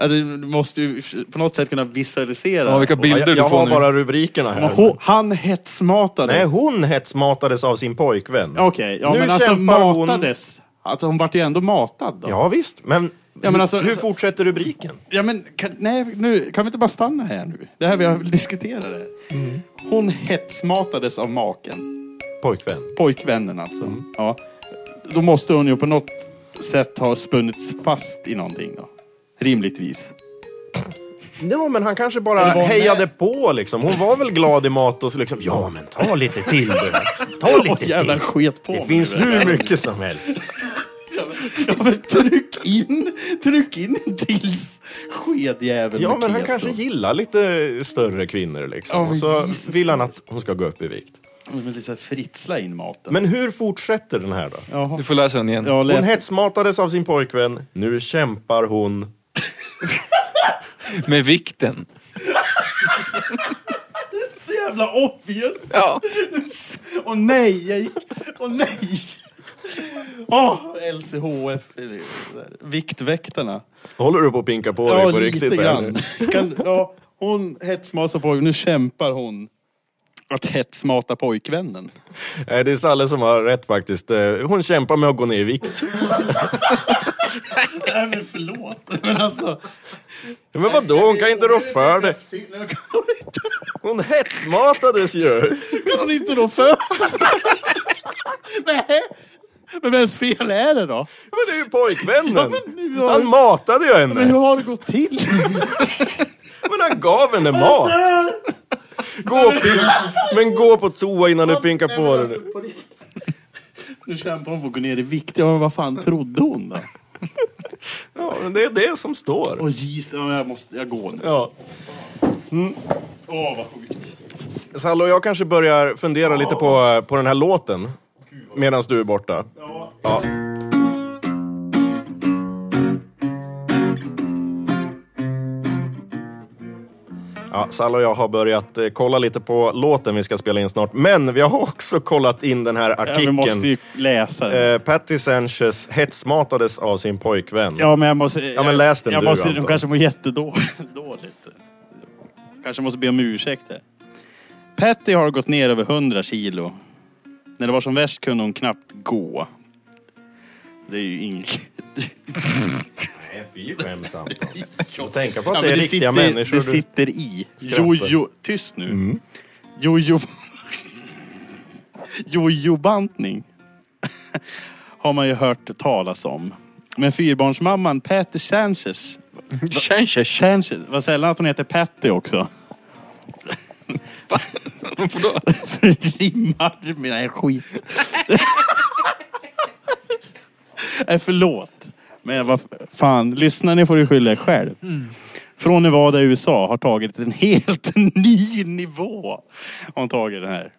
S2: Ja, Du måste ju på något sätt kunna visualisera.
S3: Ja, vilka
S4: Ja,
S3: bilder
S4: Jag, jag
S3: du får
S4: har
S3: nu.
S4: bara rubrikerna
S2: Men
S4: här.
S2: ho, han hetsmatade.
S4: Nej, hon hetsmatades av sin pojkvän.
S2: Okej, ja
S4: Nu
S2: men alltså
S4: kämpar hon-
S2: matades. Alltså hon vart ju ändå matad då.
S4: Ja, visst. Men,
S2: Ja, men alltså-
S4: hur fortsätter rubriken?
S2: Ja, men kan, nej, nu, kan vi inte bara stanna här nu? Det här vi
S4: Mm.
S2: har diskuterat. det. Hon hetsmatades av maken.
S4: Pojkvän.
S2: Pojkvännen alltså.
S4: Mm.
S2: Ja. Då måste hon ju på något sätt ha spunnits fast i någonting då. Rimligtvis.
S4: Ja, men han kanske
S2: Eller
S4: bara
S2: var hon
S4: hejade
S2: med?
S4: på liksom. Hon var väl glad i mat och så liksom, ja men ta lite till du. Ta lite
S2: Åh jävlar,
S4: till.
S2: sket på
S4: Det
S2: mig
S4: finns
S2: nu.
S4: hur mycket som helst.
S2: Ja, men tryck in, tryck in tills skedjäveln
S4: Ja,
S2: med
S4: men han
S2: keso.
S4: kanske gillar lite större kvinnor liksom.
S2: Ja,
S4: och så
S2: men Jesus
S4: vill han att hon ska gå upp i vikt.
S2: Han vill liksom fritsla in maten.
S4: Men hur fortsätter den här då?
S2: Jaha.
S3: Du får läsa den igen.
S2: Jag
S4: Hon
S2: läste...
S4: hetsmatades av sin pojkvän, nu kämpar hon.
S3: Med vikten.
S1: Så jävla obvious!
S3: Ja.
S1: Åh nej, jag gick... Åh nej! Åh, LCHF. det är det där.
S2: Viktväktarna.
S4: Håller du på att pinka på dig
S1: Ja,
S4: på riktigt?
S1: lite
S4: där
S1: grann.
S4: nu?
S1: Kan, ja, hon hetsmasar på nu kämpar hon att hetsmata pojkvännen.
S4: Nej, det är Salle som har rätt faktiskt. Eh, Hon kämpar med att gå ner i vikt.
S1: Nej men förlåt, men alltså.
S4: Men vadå, hon kan inte rå för det.
S1: Kan hon inte,
S4: Hon hetsmatades ju!
S1: kan hon inte då för? Nej, men vems fel är det då?
S4: Men det är ju pojkvännen!
S1: men nu har-
S4: Han matade ju
S1: Men hur
S4: henne!
S1: har det gått till?
S4: Men han gav henne mat! Gå och pin- men gå på toa innan du pinkar
S1: Nej,
S4: på
S1: men
S4: dig.
S1: alltså,
S4: nu.
S1: på riktigt. Nu kämpar hon för att gå ner i vikt. Ja, men vad fan trodde hon då?
S4: Ja, men det är det som står.
S1: Åh jeez, ja, jag måste, jag går nu.
S4: Ja.
S1: Åh vad sjukt.
S4: Sallo, jag kanske börjar fundera lite på, på den här låten. Medan du är borta. Ja. Ja, Salla och jag har börjat eh, kolla lite på låten vi ska spela in snart. Men vi har också kollat in den här
S2: Ja, vi
S4: artikeln.
S2: måste ju läsa den.
S4: eh, Patty Sanchez hetsmatades av sin pojkvän.
S2: Ja, men jag måste... Ja,
S4: men läs den
S2: jag
S4: du,
S2: måste, De
S4: Anton.
S2: kanske mår jättedåligt. Kanske måste be om ursäkt här. Patty har gått ner över 100 kilo. När det var som värst kunde hon knappt gå. Det är ju inget...
S4: Nej, fy skämtsamt. Och tänka på att
S2: Ja,
S4: det
S2: men
S4: är riktiga
S2: sitter,
S4: människor.
S2: Det
S4: du-
S2: sitter i. Mm.
S4: Skrattar.
S2: Jojo... Tyst nu. Jojo... Jojobantning. har man ju hört talas om. Men fyrbarnsmamman Patty Sanchez
S3: Känns
S2: Sanchez. Vad sällan att hon heter Patty också. Rimmar med... Nej, skit. Nej, Eh, förlåt. Men vad fan, lyssna ni får ju skylla er själv. Från Nevada i USA har tagit en helt ny nivå. Har hon tagit den här.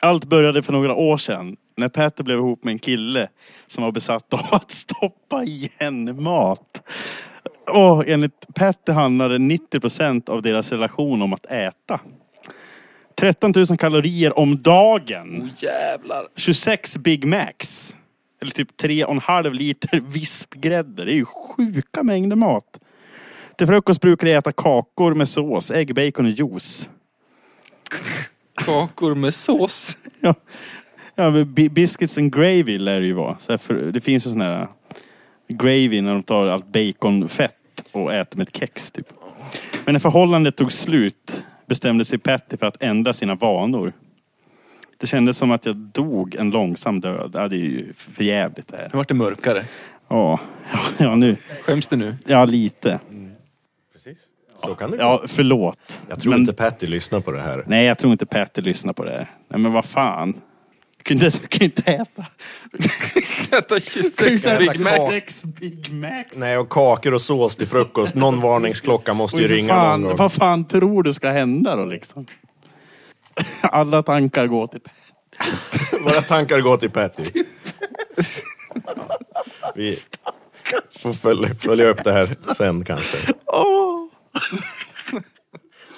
S2: Allt började för några år sedan när Petter blev ihop med en kille som var besatt av att stoppa i henne mat. Och enligt Petter handlade 90% av deras relation om att äta. 13 000 kalorier om dagen.
S3: Jävlar.
S2: 26 Big Macs. Eller typ 3,5 liter vispgrädde. Det är ju sjuka mängder mat. Till frukost brukar jag äta kakor med sås, ägg, bacon och juice.
S3: Kakor med sås.
S2: Ja, ja men bi- biscuits and gravy lär det ju vara. Så här för, det finns ju sån här gravy när de tar allt baconfett och äter med ett kex typ. Men när förhållandet tog slut bestämde sig Patty för att ändra sina vanor. Det kändes som att jag dog en långsam död. Ja, det är ju för jävligt det här.
S3: Nu vart det mörkare.
S2: Ja, ja nu.
S3: Skäms du nu?
S2: Ja, lite.
S4: Så kan det gå.
S2: Ja, förlåt.
S4: Jag tror
S2: Men-
S4: inte Patty lyssnar på det här.
S2: Nej, jag tror inte Petter lyssnar på det här. Nej, men vad fan. Du kan ju inte, du kan ju inte äta.
S3: Detta 26 Big Mac.
S2: Sex Big Macs.
S4: Nej, och kakor och sås till frukost. Någon varningsklocka måste
S2: Och
S4: ju
S2: hur
S4: ringa
S2: fan,
S4: någon gång.
S2: vad fan tror du ska hända då liksom? Alla tankar går till
S4: Våra tankar går till Patty. Vi får följa, följa upp det här sen kanske.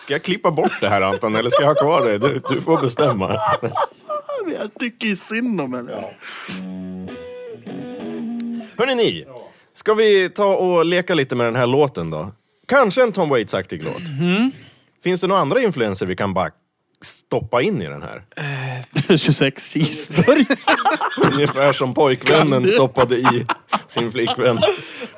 S4: Ska jag klippa bort det här Anton, eller ska jag ha kvar det? Du, du får bestämma.
S2: Jag tycker ju synd om henne.
S4: Hörrni ni, ska vi ta och leka lite med den här låten då? Kanske en Tom Waits-aktig låt. Finns det några andra influenser vi kan bara stoppa in i den här?
S2: 26 cheeseburgare.
S4: Ungefär som pojkvännen stoppade i sin flickvän.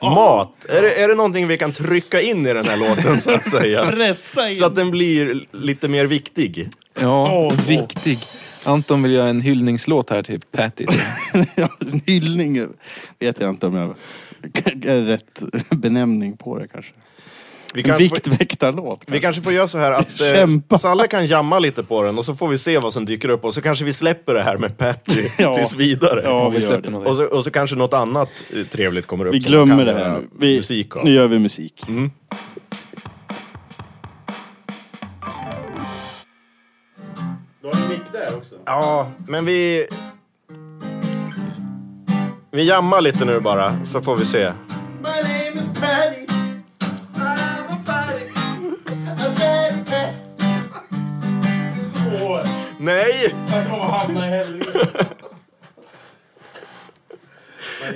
S4: Mat. Är det, är det någonting vi kan trycka in i den här låten så att säga?
S2: Pressa in.
S4: Så att den blir lite mer viktig.
S3: Ja,
S2: Åh.
S3: viktig. Anton vill göra en hyllningslåt här till Patty.
S2: Ja, en hyllning vet jag inte om jag är rätt benämning på det kanske.
S4: Vi
S2: En
S4: kanske, får,
S2: viktväktarlåt.
S4: vi kanske får göra så här att eh,
S2: Kämpa.
S4: Salle kan jamma lite på den och så får vi se vad som dyker upp och så kanske vi släpper det här med Patty
S2: Ja.
S4: tills vidare.
S2: Ja, vi
S3: vi
S2: gör
S3: släpper
S2: det.
S3: något.
S4: Och så, och så kanske något annat eh, trevligt kommer upp.
S2: Vi
S4: som man kan
S2: glömmer det
S4: göra
S2: här nu. Vi,
S4: Musik av. Mm.
S2: nu gör vi musik.
S4: Ja, men vi... Vi jammar lite nu bara, så får vi se.
S5: My name is Patty. I'm a
S4: Nej!
S1: Han kommer hamna i helvete.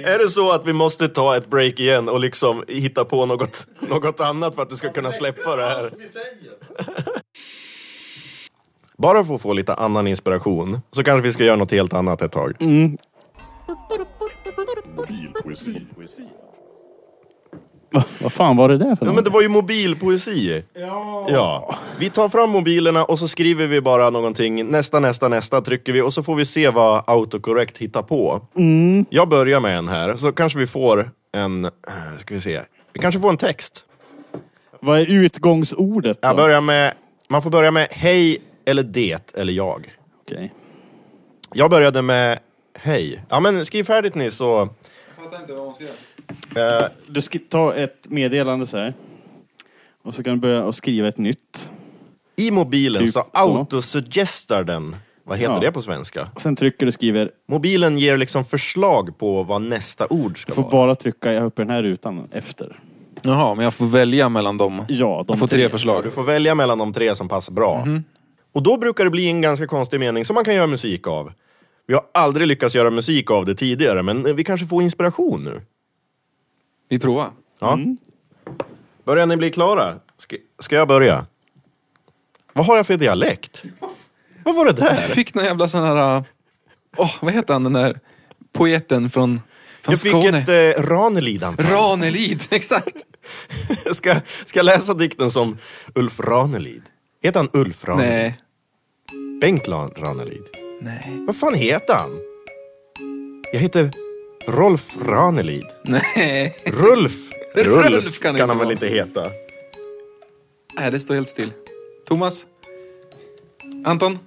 S4: Är det så att vi måste ta ett break igen och liksom hitta på något, något annat för att du ska kunna släppa det här?
S1: Vi säger.
S4: Bara för att få lite annan inspiration så kanske vi ska göra något helt annat ett tag.
S2: Vad fan var det där för
S4: Ja, men det var ju mobilpoesi.
S1: Ja.
S4: Ja. Vi tar fram mobilerna och så skriver vi bara någonting. Nästa, nästa, nästa trycker vi och så får vi se vad autocorrect hittar på.
S2: Mm.
S4: Jag börjar med en här, så kanske vi får en... eh, Ska vi se. Vi kanske får en text.
S2: Vad är utgångsordet då?
S4: Jag börjar med... Man får börja med hej eller det eller jag.
S2: Okej.
S4: Jag började med hej. Ja, men skriv färdigt ni så...
S1: Fattar inte vad hon skrev.
S4: Eh,
S2: Du ska ta ett meddelande så här. Och så kan du börja och skriva ett nytt.
S4: I mobilen
S2: Typ
S4: så
S2: så.
S4: autosuggestar den. Vad heter
S2: Ja.
S4: det på svenska?
S2: Och sen trycker du och skriver.
S4: Mobilen ger liksom förslag på vad nästa ord ska
S2: Du får
S4: vara.
S2: bara trycka uppe i den här rutan efter.
S3: Jaha, men jag får välja mellan dem.
S2: Ja, de
S3: jag får tre förslag.
S4: Du får välja mellan de tre som passar bra.
S3: Mhm.
S4: Och då brukar det bli en ganska konstig mening som man kan göra musik av. Vi har aldrig lyckats göra musik av det tidigare, men eh, vi kanske får inspiration nu.
S3: Vi provar.
S4: Ja.
S3: Mm.
S4: Börjar ni bli klara? Ska, ska jag börja? Vad har jag för dialekt? Vad var det
S3: Jag
S4: där?
S3: fick någon jävla sån här... äh, Åh, vad heter han den där poeten från, från
S4: Jag fick
S3: Skåne?
S4: ett eh, Ranelid-anfall.
S3: Ranelid, exakt.
S4: ska, ska jag läsa dikten som Ulf Ranelid? Heter han Ulf Ranelid?
S3: Nej,
S4: Bengt Lan- Ranelid?
S3: nej,
S4: Vad fan heter han? Jag heter Rolf Ranelid.
S3: nej.
S4: Rulf.
S3: Rulf kan det
S4: kan
S3: inte
S4: han väl
S3: vara.
S4: inte heta?
S3: Nej, det står helt still. Thomas? Anton?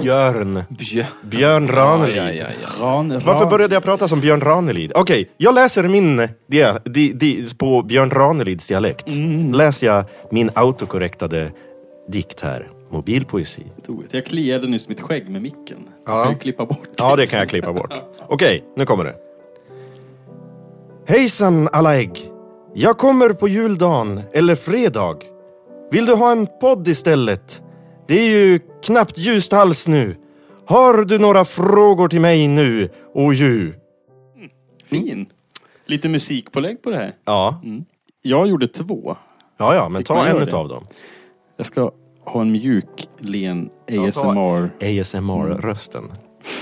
S4: Björn.
S3: Björn.
S4: Björn Ranelid.
S3: Ja, ja, ja.
S2: Ran, ran.
S4: Varför började jag prata som Björn Ranelid? Okej, jag läser min dia, di, di, på Björn Ranelids dialekt.
S3: Mm.
S4: Läser jag min autokorrektade dikt här. Mobilpoesi.
S2: Tog ett. Jag kliade nyss mitt skägg med micken.
S4: Ja.
S2: Kan du klippa bort
S4: Ja, det kan jag klippa bort. Okej, nu kommer det. Hejsan alla ägg! Jag kommer på juldagen eller fredag. Vill du ha en podd istället? Det är ju knappt ljust alls nu. Har du några frågor till mig nu, o ju?
S2: Fin. Lite musikpålägg på det här.
S4: Ja,
S2: Jag gjorde två.
S4: ja, ja men
S2: Fick
S4: ta
S2: man göra
S4: en
S2: det?
S4: av dem.
S2: Jag ska ha en mjuk, len
S4: Jag tar-
S2: ASMR.
S4: ASMR-rösten.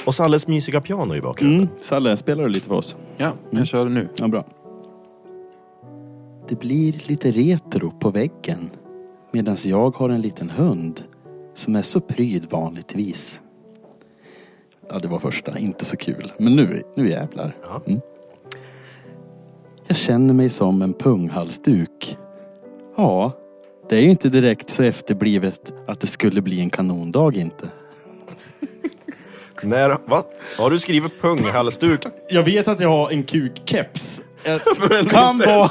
S4: Och Salles mysiga piano i bakgrunden.
S2: Mm. Salle, spelar du lite för oss?
S3: Ja, jag kör nu.
S2: Ja, bra. Det blir lite retro på väggen medan jag har en liten hund som är så pryd vanligtvis. Ja, det var första. Inte så kul. Men nu, nu jävlar. Mm. Jag känner mig som en punghalsduk. Ja, det är ju inte direkt så efterblivet att det skulle bli en kanondag inte. Mm.
S4: När, va? Har du skrivit punghalsduk?
S2: Jag vet att jag har en kukkeps.
S4: Men
S2: Kan
S4: inte-
S2: vara-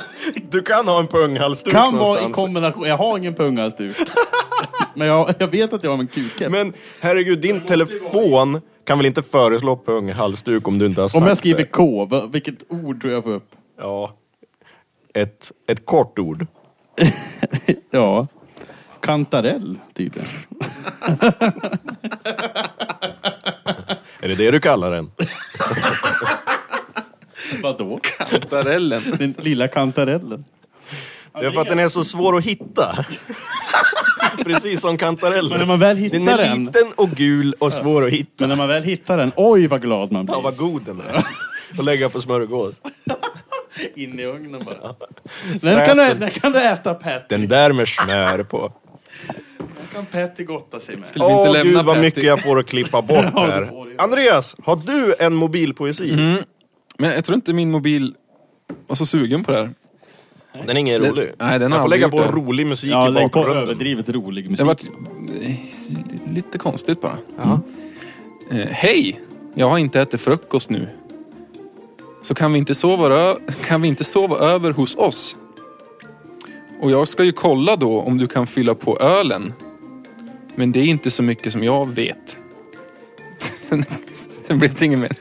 S4: Du kan ha en punghalsduk
S2: Kan vara i
S4: någonstans.
S2: kombination. Jag har ingen pungastuk. Men jag, jag vet att jag har en kukkeps.
S4: Men herregud, din telefon kan väl inte föreslå punghalsduk om du inte har sagt
S2: Om jag skriver
S4: det?
S2: K, va- vilket ord tror jag får upp?
S4: Ja. Ett, ett kort ord.
S2: Ja. Kantarell, tydligen.
S4: Är det det du kallar den?
S2: Vadå?
S3: Darellen.
S2: Den lilla kantarellen.
S4: Det är för att den är så svår att hitta. Precis som kantarellen.
S2: Men när man väl hittar
S4: den är
S2: den-
S4: liten och gul och svår att hitta.
S2: Men när man väl hittar den, oj vad glad man
S4: Ja,
S2: blir.
S4: vad god den är. Och lägga på smörgås.
S2: In i ugnen bara. Den kan, du, den kan du äta Patty.
S4: Den där med smör på.
S2: Den kan Patty gotta sig med.
S3: Vill vi inte
S4: Åh
S3: lämna
S4: gud vad
S3: Patty?
S4: mycket jag får att klippa bort
S2: det får
S4: här.
S2: du.
S4: Andreas, har du en mobilpoesi?
S3: Mm. Men jag tror inte min mobil var så sugen på det här.
S4: Den är ingen
S3: Den-
S4: rolig.
S3: nej, den har
S4: jag får
S3: aldrig
S4: lägga på
S3: gjort det.
S4: rolig musik
S2: Ja,
S4: i
S2: lägg på
S4: bakgrunden.
S2: överdrivet rolig
S3: Det
S2: musik.
S3: har varit eh, lite konstigt bara.
S4: Mm.
S3: Eh, Hej! Jag har inte ätit frukost nu. Så kan vi, inte sova ö- kan vi inte sova över hos oss? Och jag ska ju kolla då om du kan fylla på ölen. Men det är inte så mycket som jag vet. Sen, sen blev det inget mer.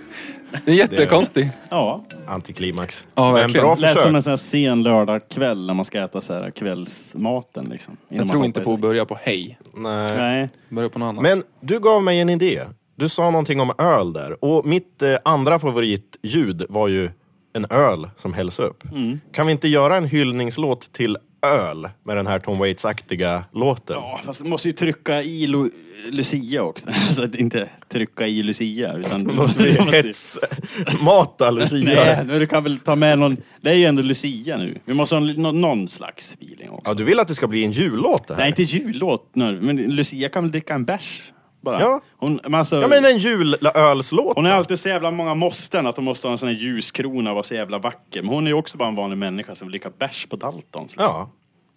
S3: Det är jättekonstigt.
S2: Ja,
S4: Antiklimax.
S3: Ja,
S4: Men
S3: verkligen.
S4: Bra
S2: Lät som
S4: försök.
S2: en sån här sen lördagkväll när man ska äta så här kvällsmaten. Liksom, innan
S3: Jag
S2: man
S3: tror
S2: hoppar
S3: inte
S2: i
S3: på att
S2: säng.
S3: börja på hej.
S4: Nej.
S2: Nej.
S3: Börja på något annat.
S4: Men du gav mig en idé. Du sa någonting om öl där. Och mitt eh, andra favoritljud var ju en öl som hälls upp.
S2: Mm.
S4: Kan vi inte göra en hyllningslåt till öl med den här Tom Waits-aktiga låten?
S2: Ja, fast du måste ju trycka i Lu- Lucia också. Alltså att inte trycka i Lucia. Utan
S4: Då måste vi
S2: du måste ju-
S4: hetsmata Lucia.
S2: Nej, men du kan väl ta med någon. Det är ju ändå Lucia nu. Vi måste ha någon, någon slags feeling också.
S4: Ja, du vill att det ska bli en jullåt det här?
S2: Nej, inte jullåt nu. Men Lucia kan väl dricka en bärs? Bara.
S4: Ja.
S2: Hon, men alltså,
S4: Ja, men en julölslåt.
S2: hon har alltid så jävla många måsten. Att hon måste ha en sån här ljuskrona och vara så jävla vacker. Men hon är ju också bara en vanlig människa som vill dricka bärs på Daltons. liksom.
S4: Ja.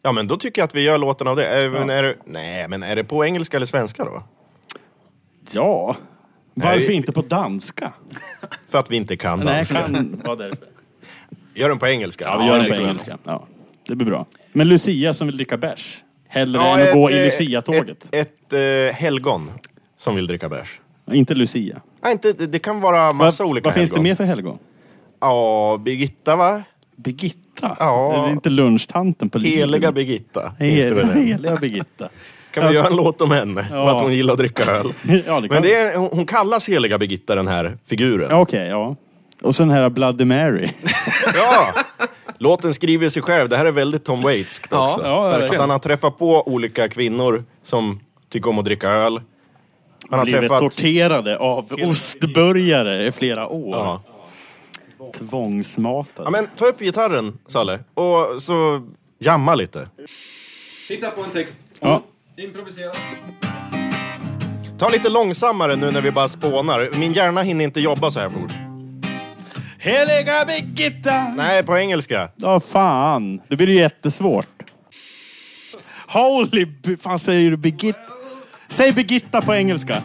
S4: ja, men då tycker jag att vi gör låten av det. Är, men är det... Nej, men är det på engelska eller svenska då?
S2: ja. Varför
S4: Nej.
S2: inte på danska?
S4: För att vi inte kan
S2: Nej,
S4: danska.
S2: kan vara därför.
S4: Gör den på engelska.
S2: Ja, vi gör
S4: det
S2: det på
S4: tror jag.
S2: engelska. Ja, det blir bra. Men Lucia som vill dricka bärs. Hellre
S4: Ja,
S2: än att
S4: ett,
S2: gå i
S4: eh,
S2: Lucia-tåget.
S4: Ett, ett, eh, helgon som vill dricka bärs.
S2: Inte Lucia.
S4: Nej, inte, det det kan vara massa
S2: vad
S4: olika
S2: vad finns det
S4: helgon.
S2: mer för helgon?
S4: Ja, Birgitta va?
S2: Birgitta?
S4: Ja.
S2: Är det inte lunchtanten på Lidl?
S4: Heliga Birgitta. finns det väl en.
S2: Heliga Birgitta.
S4: Kan vi göra en låt om henne?
S2: Ja.
S4: Om att hon gillar att dricka öl.
S2: Ja, det kan
S4: Men det är, hon hon kallas Heliga Birgitta, den här figuren.
S2: Ja, Okej, ja. Och sen här Bloody Mary.
S4: Ja! Låten skriver sig själv. Det här är väldigt Tom Waits också.
S3: Ja,
S2: ja,
S4: att
S3: verkligen.
S4: han har träffat på olika kvinnor som tycker om att dricka öl. Han har
S2: Blivit
S4: träffat...
S2: torterade av ostburgare i flera år.
S4: Ja.
S2: Tvångsmatade.
S4: ja, men ta upp gitarren, Salle, och så jamma lite.
S6: Hitta på en text.
S2: Ja.
S6: Improvisera.
S4: Ta lite långsammare nu när vi bara spånar. Min hjärna hinner inte jobba så här fort.
S2: Heliga Birgitta!
S4: Nej, på engelska.
S2: Ja, fan. Det blir ju jättesvårt. Holy... b- Fan, säger du Birgitta? Säg Birgitta på engelska.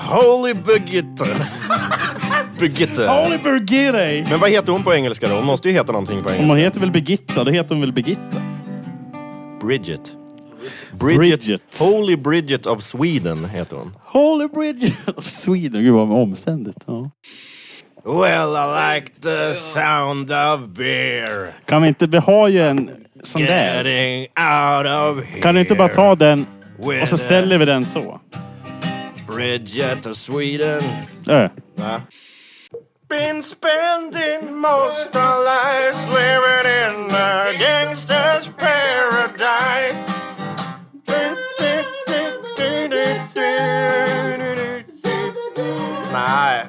S4: Holy Birgitta. Birgitta.
S2: Holy Birgitta!
S4: Men vad heter hon på engelska då? Hon måste ju heta någonting på
S2: Om
S4: engelska.
S2: hon heter väl Birgitta, då heter hon väl Birgitta?
S4: Bridget.
S2: Bridget.
S4: Holy Bridget of Sweden heter hon.
S2: Holy Bridget of Sweden. Gud vad omständigt. Ja.
S4: Well, I like the sound of beer.
S2: Kan vi inte... Vi har ju en sån där.
S4: Getting out of here.
S2: Kan du inte bara ta den och
S4: With
S2: så
S4: a
S2: ställer vi den så?
S4: Bridget of Sweden.
S2: Ö.
S4: Nej. Been spending most of lives living in a gangster's paradise. Nej.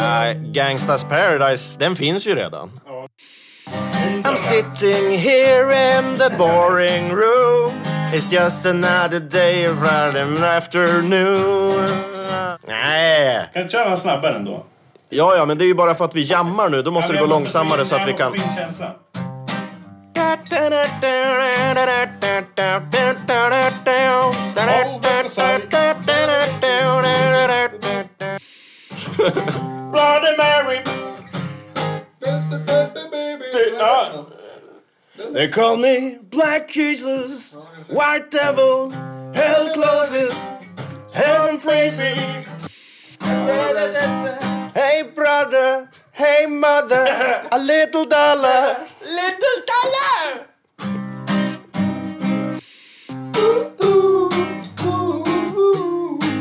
S4: Nej, Gangsta's Paradise, den finns ju redan. I'm sitting here in the boring room It's just another day of an afternoon Ah. Nej.
S2: Kan du köra den snabbare ändå?
S4: Ja, ja, men det är ju bara för att vi jammar nu. Då måste det gå långsammare så att vi kan... Bloody Mary. They call me Black Jesus, White Devil, Hell Closes, Heaven Freezing. Hey brother, hey mother, a little dollar, little dollar.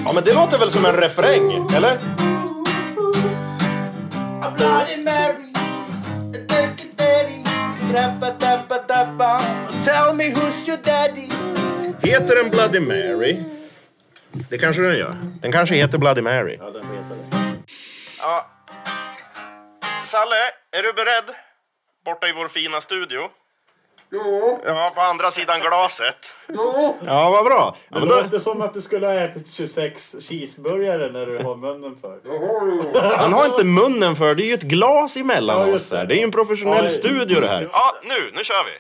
S4: Ja, men det låter väl som en refräng, eller? A Bloody Mary, a dirty daddy, rappa dappa dappa, tell me who's your daddy. Heter den Bloody Mary? Det kanske den gör. Den kanske heter Bloody Mary. Ja, den heter det. Ja. Salle, är du beredd? Borta i vår fina studio. Jo. Ja, på andra sidan glaset. Jo. Ja, vad bra. Ja, men då,
S1: som att du skulle ha ätit 26 cheeseburgare när du har munnen för.
S4: Han har inte munnen för, det är ju ett glas emellan
S1: Ja, just
S4: oss
S1: det.
S4: här. Det är ju en professionell
S1: Ja,
S4: studio det här.
S1: just det.
S4: Ja, nu, nu kör vi.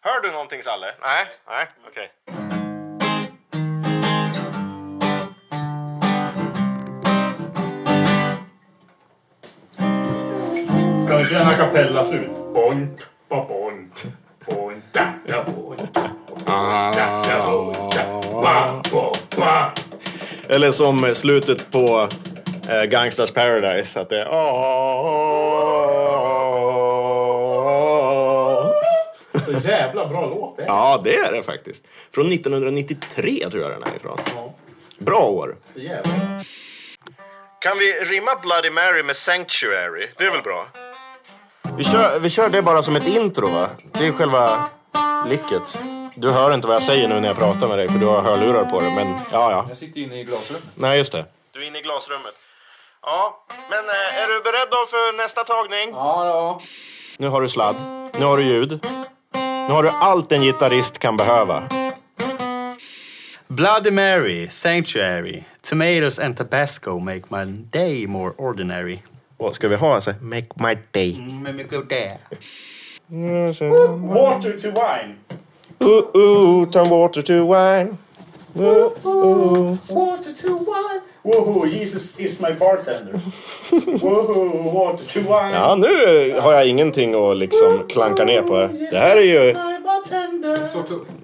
S4: Hör du någonting Salle? Nej, nej, okej.
S6: Kan vi köra en a cappella slut? Bont, ba bont. Bonta, da bonta.
S4: Ah.
S6: Bonta, da bonta. Ba, bo, ba.
S4: Eller som slutet på eh, Gangsters Paradise. Att det är... "Ah."
S2: Så jävla bra låt det är.
S4: Ja, det är det faktiskt. Från 1993 tror jag den är ifrån. Bra år.
S2: Så jävla.
S4: Kan vi rimma Bloody Mary med Sanctuary? Det är väl bra? Vi kör, vi kör det bara som ett intro va? Det är själva licket. Du hör inte vad jag säger nu när jag pratar med dig för du har hörlurar på dig. Men ja, ja.
S7: Jag sitter inne i glasrummet.
S4: Nej, just det. Du är inne i glasrummet. Ja, men eh, är du beredd då för nästa tagning?
S7: Ja, ja.
S4: Nu har du sladd. Nu har du ljud. Nu har du allt en gitarrist kan behöva.
S8: Bloody Mary, Sanctuary, Tomatoes and Tabasco make my day more ordinary. Mm,
S4: Åh, ska vi ha alltså? Make my day.
S8: Men vi går där.
S2: Water to wine.
S4: Ooh, ooh, turn water to wine. Ooh, ooh.
S2: Water to wine. Woho, Jesus is my bartender. Woho, water to wine.
S4: Ja, nu har jag ingenting att liksom klanka ner på. här. Det här är ju...
S2: My bartender.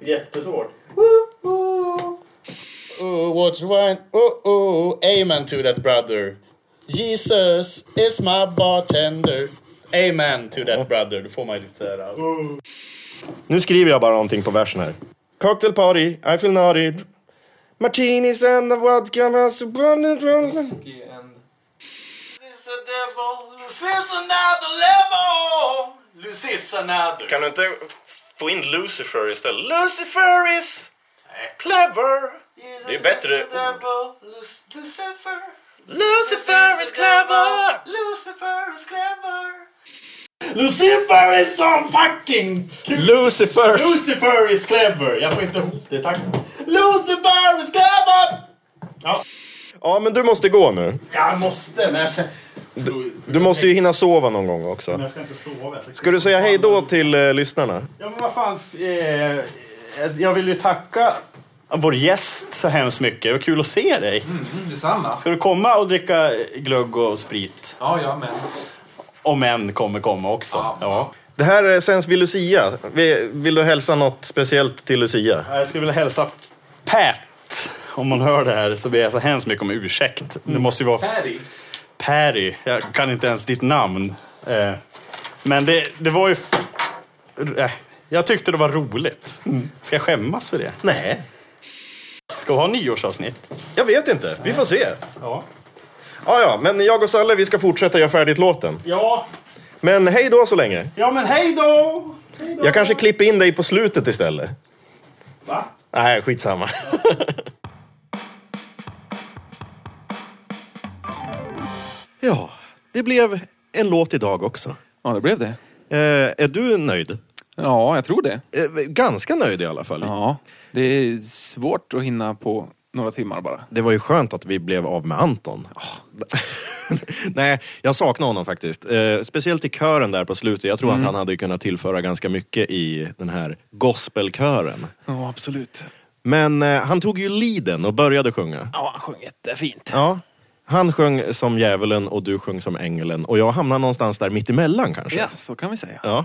S2: Jättesvårt.
S8: Ooh, Oh, water wine, ooh, ooh, amen to that brother. Jesus is my bartender. Amen to that brother. Då får man ju lite såhär... Uh.
S4: Nu skriver jag bara någonting på versen här. Cocktail party, I feel naughty. Martinis and the vodka alltså, must be brought-
S7: Whisky and...
S4: Kan du inte få in Lucifer istället? Lucifer is clever. Det är bättre. Lucifer is clever.
S2: Lucifer is so fucking cute.
S4: Lucifer.
S2: Lucifer is clever. Jag får inte ihop det, tack. Lucifer is clever!
S4: Ja, men du måste gå nu.
S2: Jag måste, men jag känner...
S4: Du måste ju hinna sova någon gång också.
S2: Jag ska inte sova. Jag
S4: Ska du säga hej då till eh, lyssnarna?
S2: Ja, men vad fan. f- Eh, jag vill ju tacka vår gäst så hemskt mycket. Det var kul att se dig.
S7: Mm, Detsamma.
S2: Ska du komma och dricka glögg och sprit?
S7: Ja, ja, men.
S2: Om en kommer komma också.
S7: Ja.
S2: Ja.
S4: Det här eh, sänds vid Lucia. Vi- Vill du hälsa något speciellt till Lucia?
S2: Jag skulle vilja hälsa Pat. Om man hör det här så ber jag så hemskt mycket om ursäkt. Det måste ju vara
S7: Perry.
S2: Perry. Jag kan inte ens ditt namn. Eh, Men det, det var ju... f- eh, Jag tyckte det var roligt. Ska jag skämmas för det?
S4: Nej,
S2: Ska vi ha nyårsavsnitt?
S4: jag vet inte. Vi får se.
S2: Ja.
S4: Ja, ja, men jag och Sölle, vi ska fortsätta göra färdigt låten.
S2: Ja,
S4: Men hej då så länge.
S2: ja men hej då!
S4: Jag kanske klipper in dig på slutet istället.
S2: Va?
S4: Nej, skitsamma. ja, det blev en låt idag också.
S3: Ja, det blev det.
S4: Eh, är du nöjd?
S3: Ja, jag tror det.
S4: Eh, ganska nöjd i alla fall.
S3: Ja, det är svårt att hinna på några timmar bara.
S4: Det var ju skönt att vi blev av med Anton. Nej, jag saknar honom faktiskt. Eh, speciellt i kören där på slutet. Jag tror att han hade kunnat tillföra ganska mycket i den här gospelkören.
S3: Ja, absolut.
S4: Men eh, han tog ju liden och började sjunga.
S3: Ja, han sjöng jättefint.
S4: Ja. Han sjöng som djävulen och du sjöng som ängeln. Och jag hamnade någonstans där mittemellan kanske.
S3: Ja, så kan vi säga.
S4: Ja.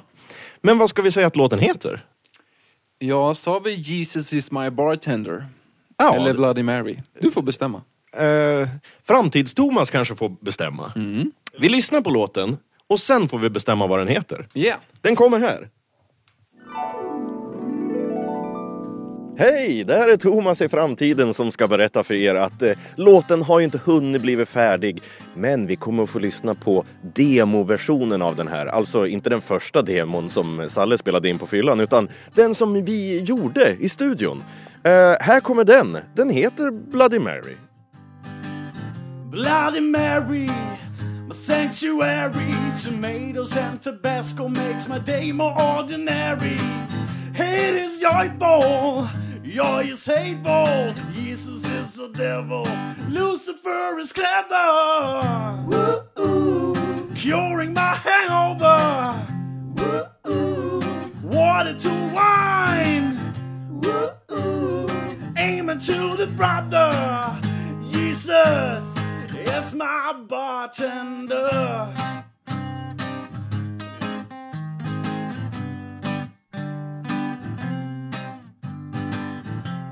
S4: Men vad ska vi säga att låten heter?
S3: Ja, sa vi Jesus is my bartender?
S4: Ja,
S3: Eller
S4: det-
S3: Bloody Mary? Du får bestämma.
S4: Eh, Framtids-Thomas kanske får bestämma. Vi lyssnar på låten och sen får vi bestämma vad den heter.
S3: Ja.
S4: Den kommer här. Hej, det här är Thomas i framtiden som ska berätta för er att eh, låten har ju inte hunnit blivit färdig. Men vi kommer att få lyssna på demoversionen av den här. Alltså inte den första demon som Salle spelade in på fyllan utan den som vi gjorde i studion. Eh, här kommer den. Den heter Bloody Mary.
S9: Bloody Mary, my sanctuary. Tomatoes and Tabasco makes my day more ordinary. Hate is joyful, joy is hateful. Jesus is the devil, Lucifer is clever. Woo-oo. Curing my hangover. Woo-oo. Water to wine. Woo-oo. Aiming to the brother. Jesus is my bartender.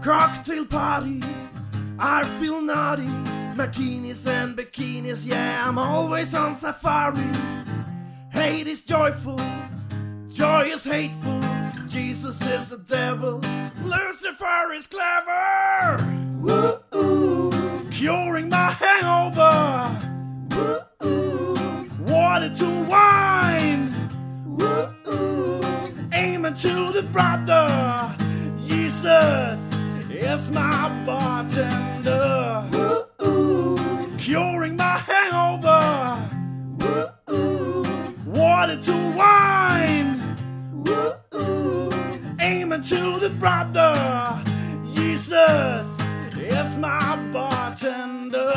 S9: Cocktail party, I feel naughty.
S5: martinis and bikinis. Yeah, I'm always on safari. Hate is joyful, joy is hateful. Jesus is a devil, Lucifer is clever. Woo-oo. Curing my hangover. Woo-oo. Water to wine. Woo-oo. Aiming to the brother. Jesus is my bartender. Woo-oo. Curing my hangover. Woo-oo. Water to wine. Woo-oo. Aiming to the brother. Jesus is my bartender.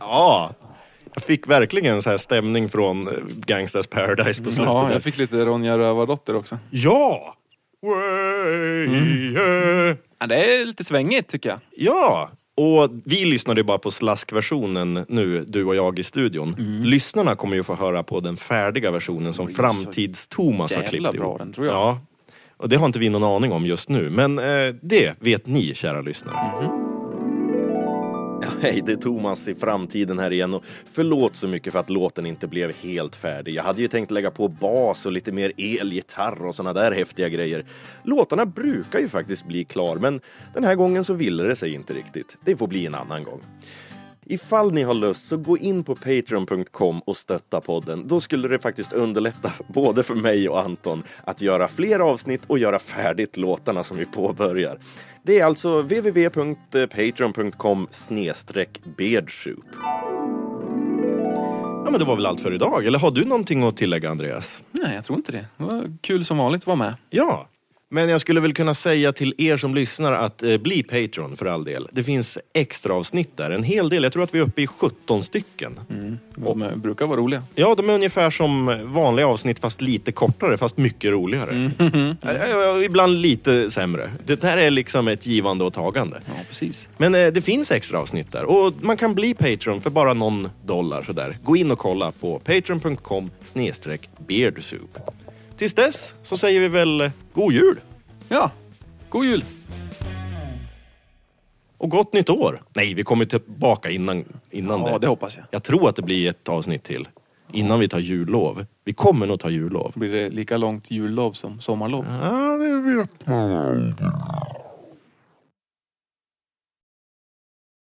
S4: Ja, jag fick verkligen så här stämning från eh, Gangsters Paradise på slutet.
S3: Ja,
S4: där.
S3: jag fick lite Ronja Rövardotter också.
S4: ja. Way, eh.
S3: Ja, det är lite svängigt tycker jag.
S4: Ja, och vi lyssnade ju bara på slaskversionen nu, du och jag i studion.
S3: Mm.
S4: Lyssnarna kommer ju få höra på den färdiga versionen som Framtids-Thomas har
S3: jävla
S4: klippt ihop.
S3: bra den, tror jag.
S4: Ja, och det har inte vi någon aning om just nu, men eh, det vet ni kära lyssnare. Ja, hej, det är Thomas i framtiden här igen och förlåt så mycket för att låten inte blev helt färdig. Jag hade ju tänkt lägga på bas och lite mer elgitarr och såna där häftiga grejer. Låtarna brukar ju faktiskt bli klar, men den här gången så ville det sig inte riktigt. Det får bli en annan gång. Ifall ni har lust så gå in på patreon.com och stötta podden. Då skulle det faktiskt underlätta både för mig och Anton att göra fler avsnitt och göra färdigt låtarna som vi påbörjar. Det är alltså www.patreon.com snedstreck beardsoup. Ja, men det var väl allt för idag. Eller har du någonting att tillägga, Andreas?
S3: Nej, jag tror inte det. Det var kul som vanligt att vara med.
S4: Ja, men jag skulle väl kunna säga till er som lyssnar att eh, bli Patreon för all del. Det finns extra avsnitt där, en hel del. Jag tror att vi är uppe i 17 stycken.
S3: De eh, brukar vara roliga.
S4: Ja, de är ungefär som vanliga avsnitt fast lite kortare, fast mycket roligare.
S3: Mm.
S4: Eh, eh, Ibland lite sämre. Det här är liksom ett givande och tagande.
S3: Ja, precis.
S4: Men eh, det finns extra avsnitt där och man kan bli Patreon för bara någon dollar sådär. Gå in och kolla på patreon.com snedstreck beardsoup. Tills dess så säger vi väl eh, god jul
S3: Ja, god jul!
S4: och gott nytt år. Nej, vi kommer tillbaka innan, innan
S3: Ja, det hoppas jag.
S4: Jag tror att det blir ett avsnitt till innan vi tar jullov. Vi kommer nog ta jullov.
S3: Blir det lika långt jullov som sommarlov?
S4: Ja, det vet man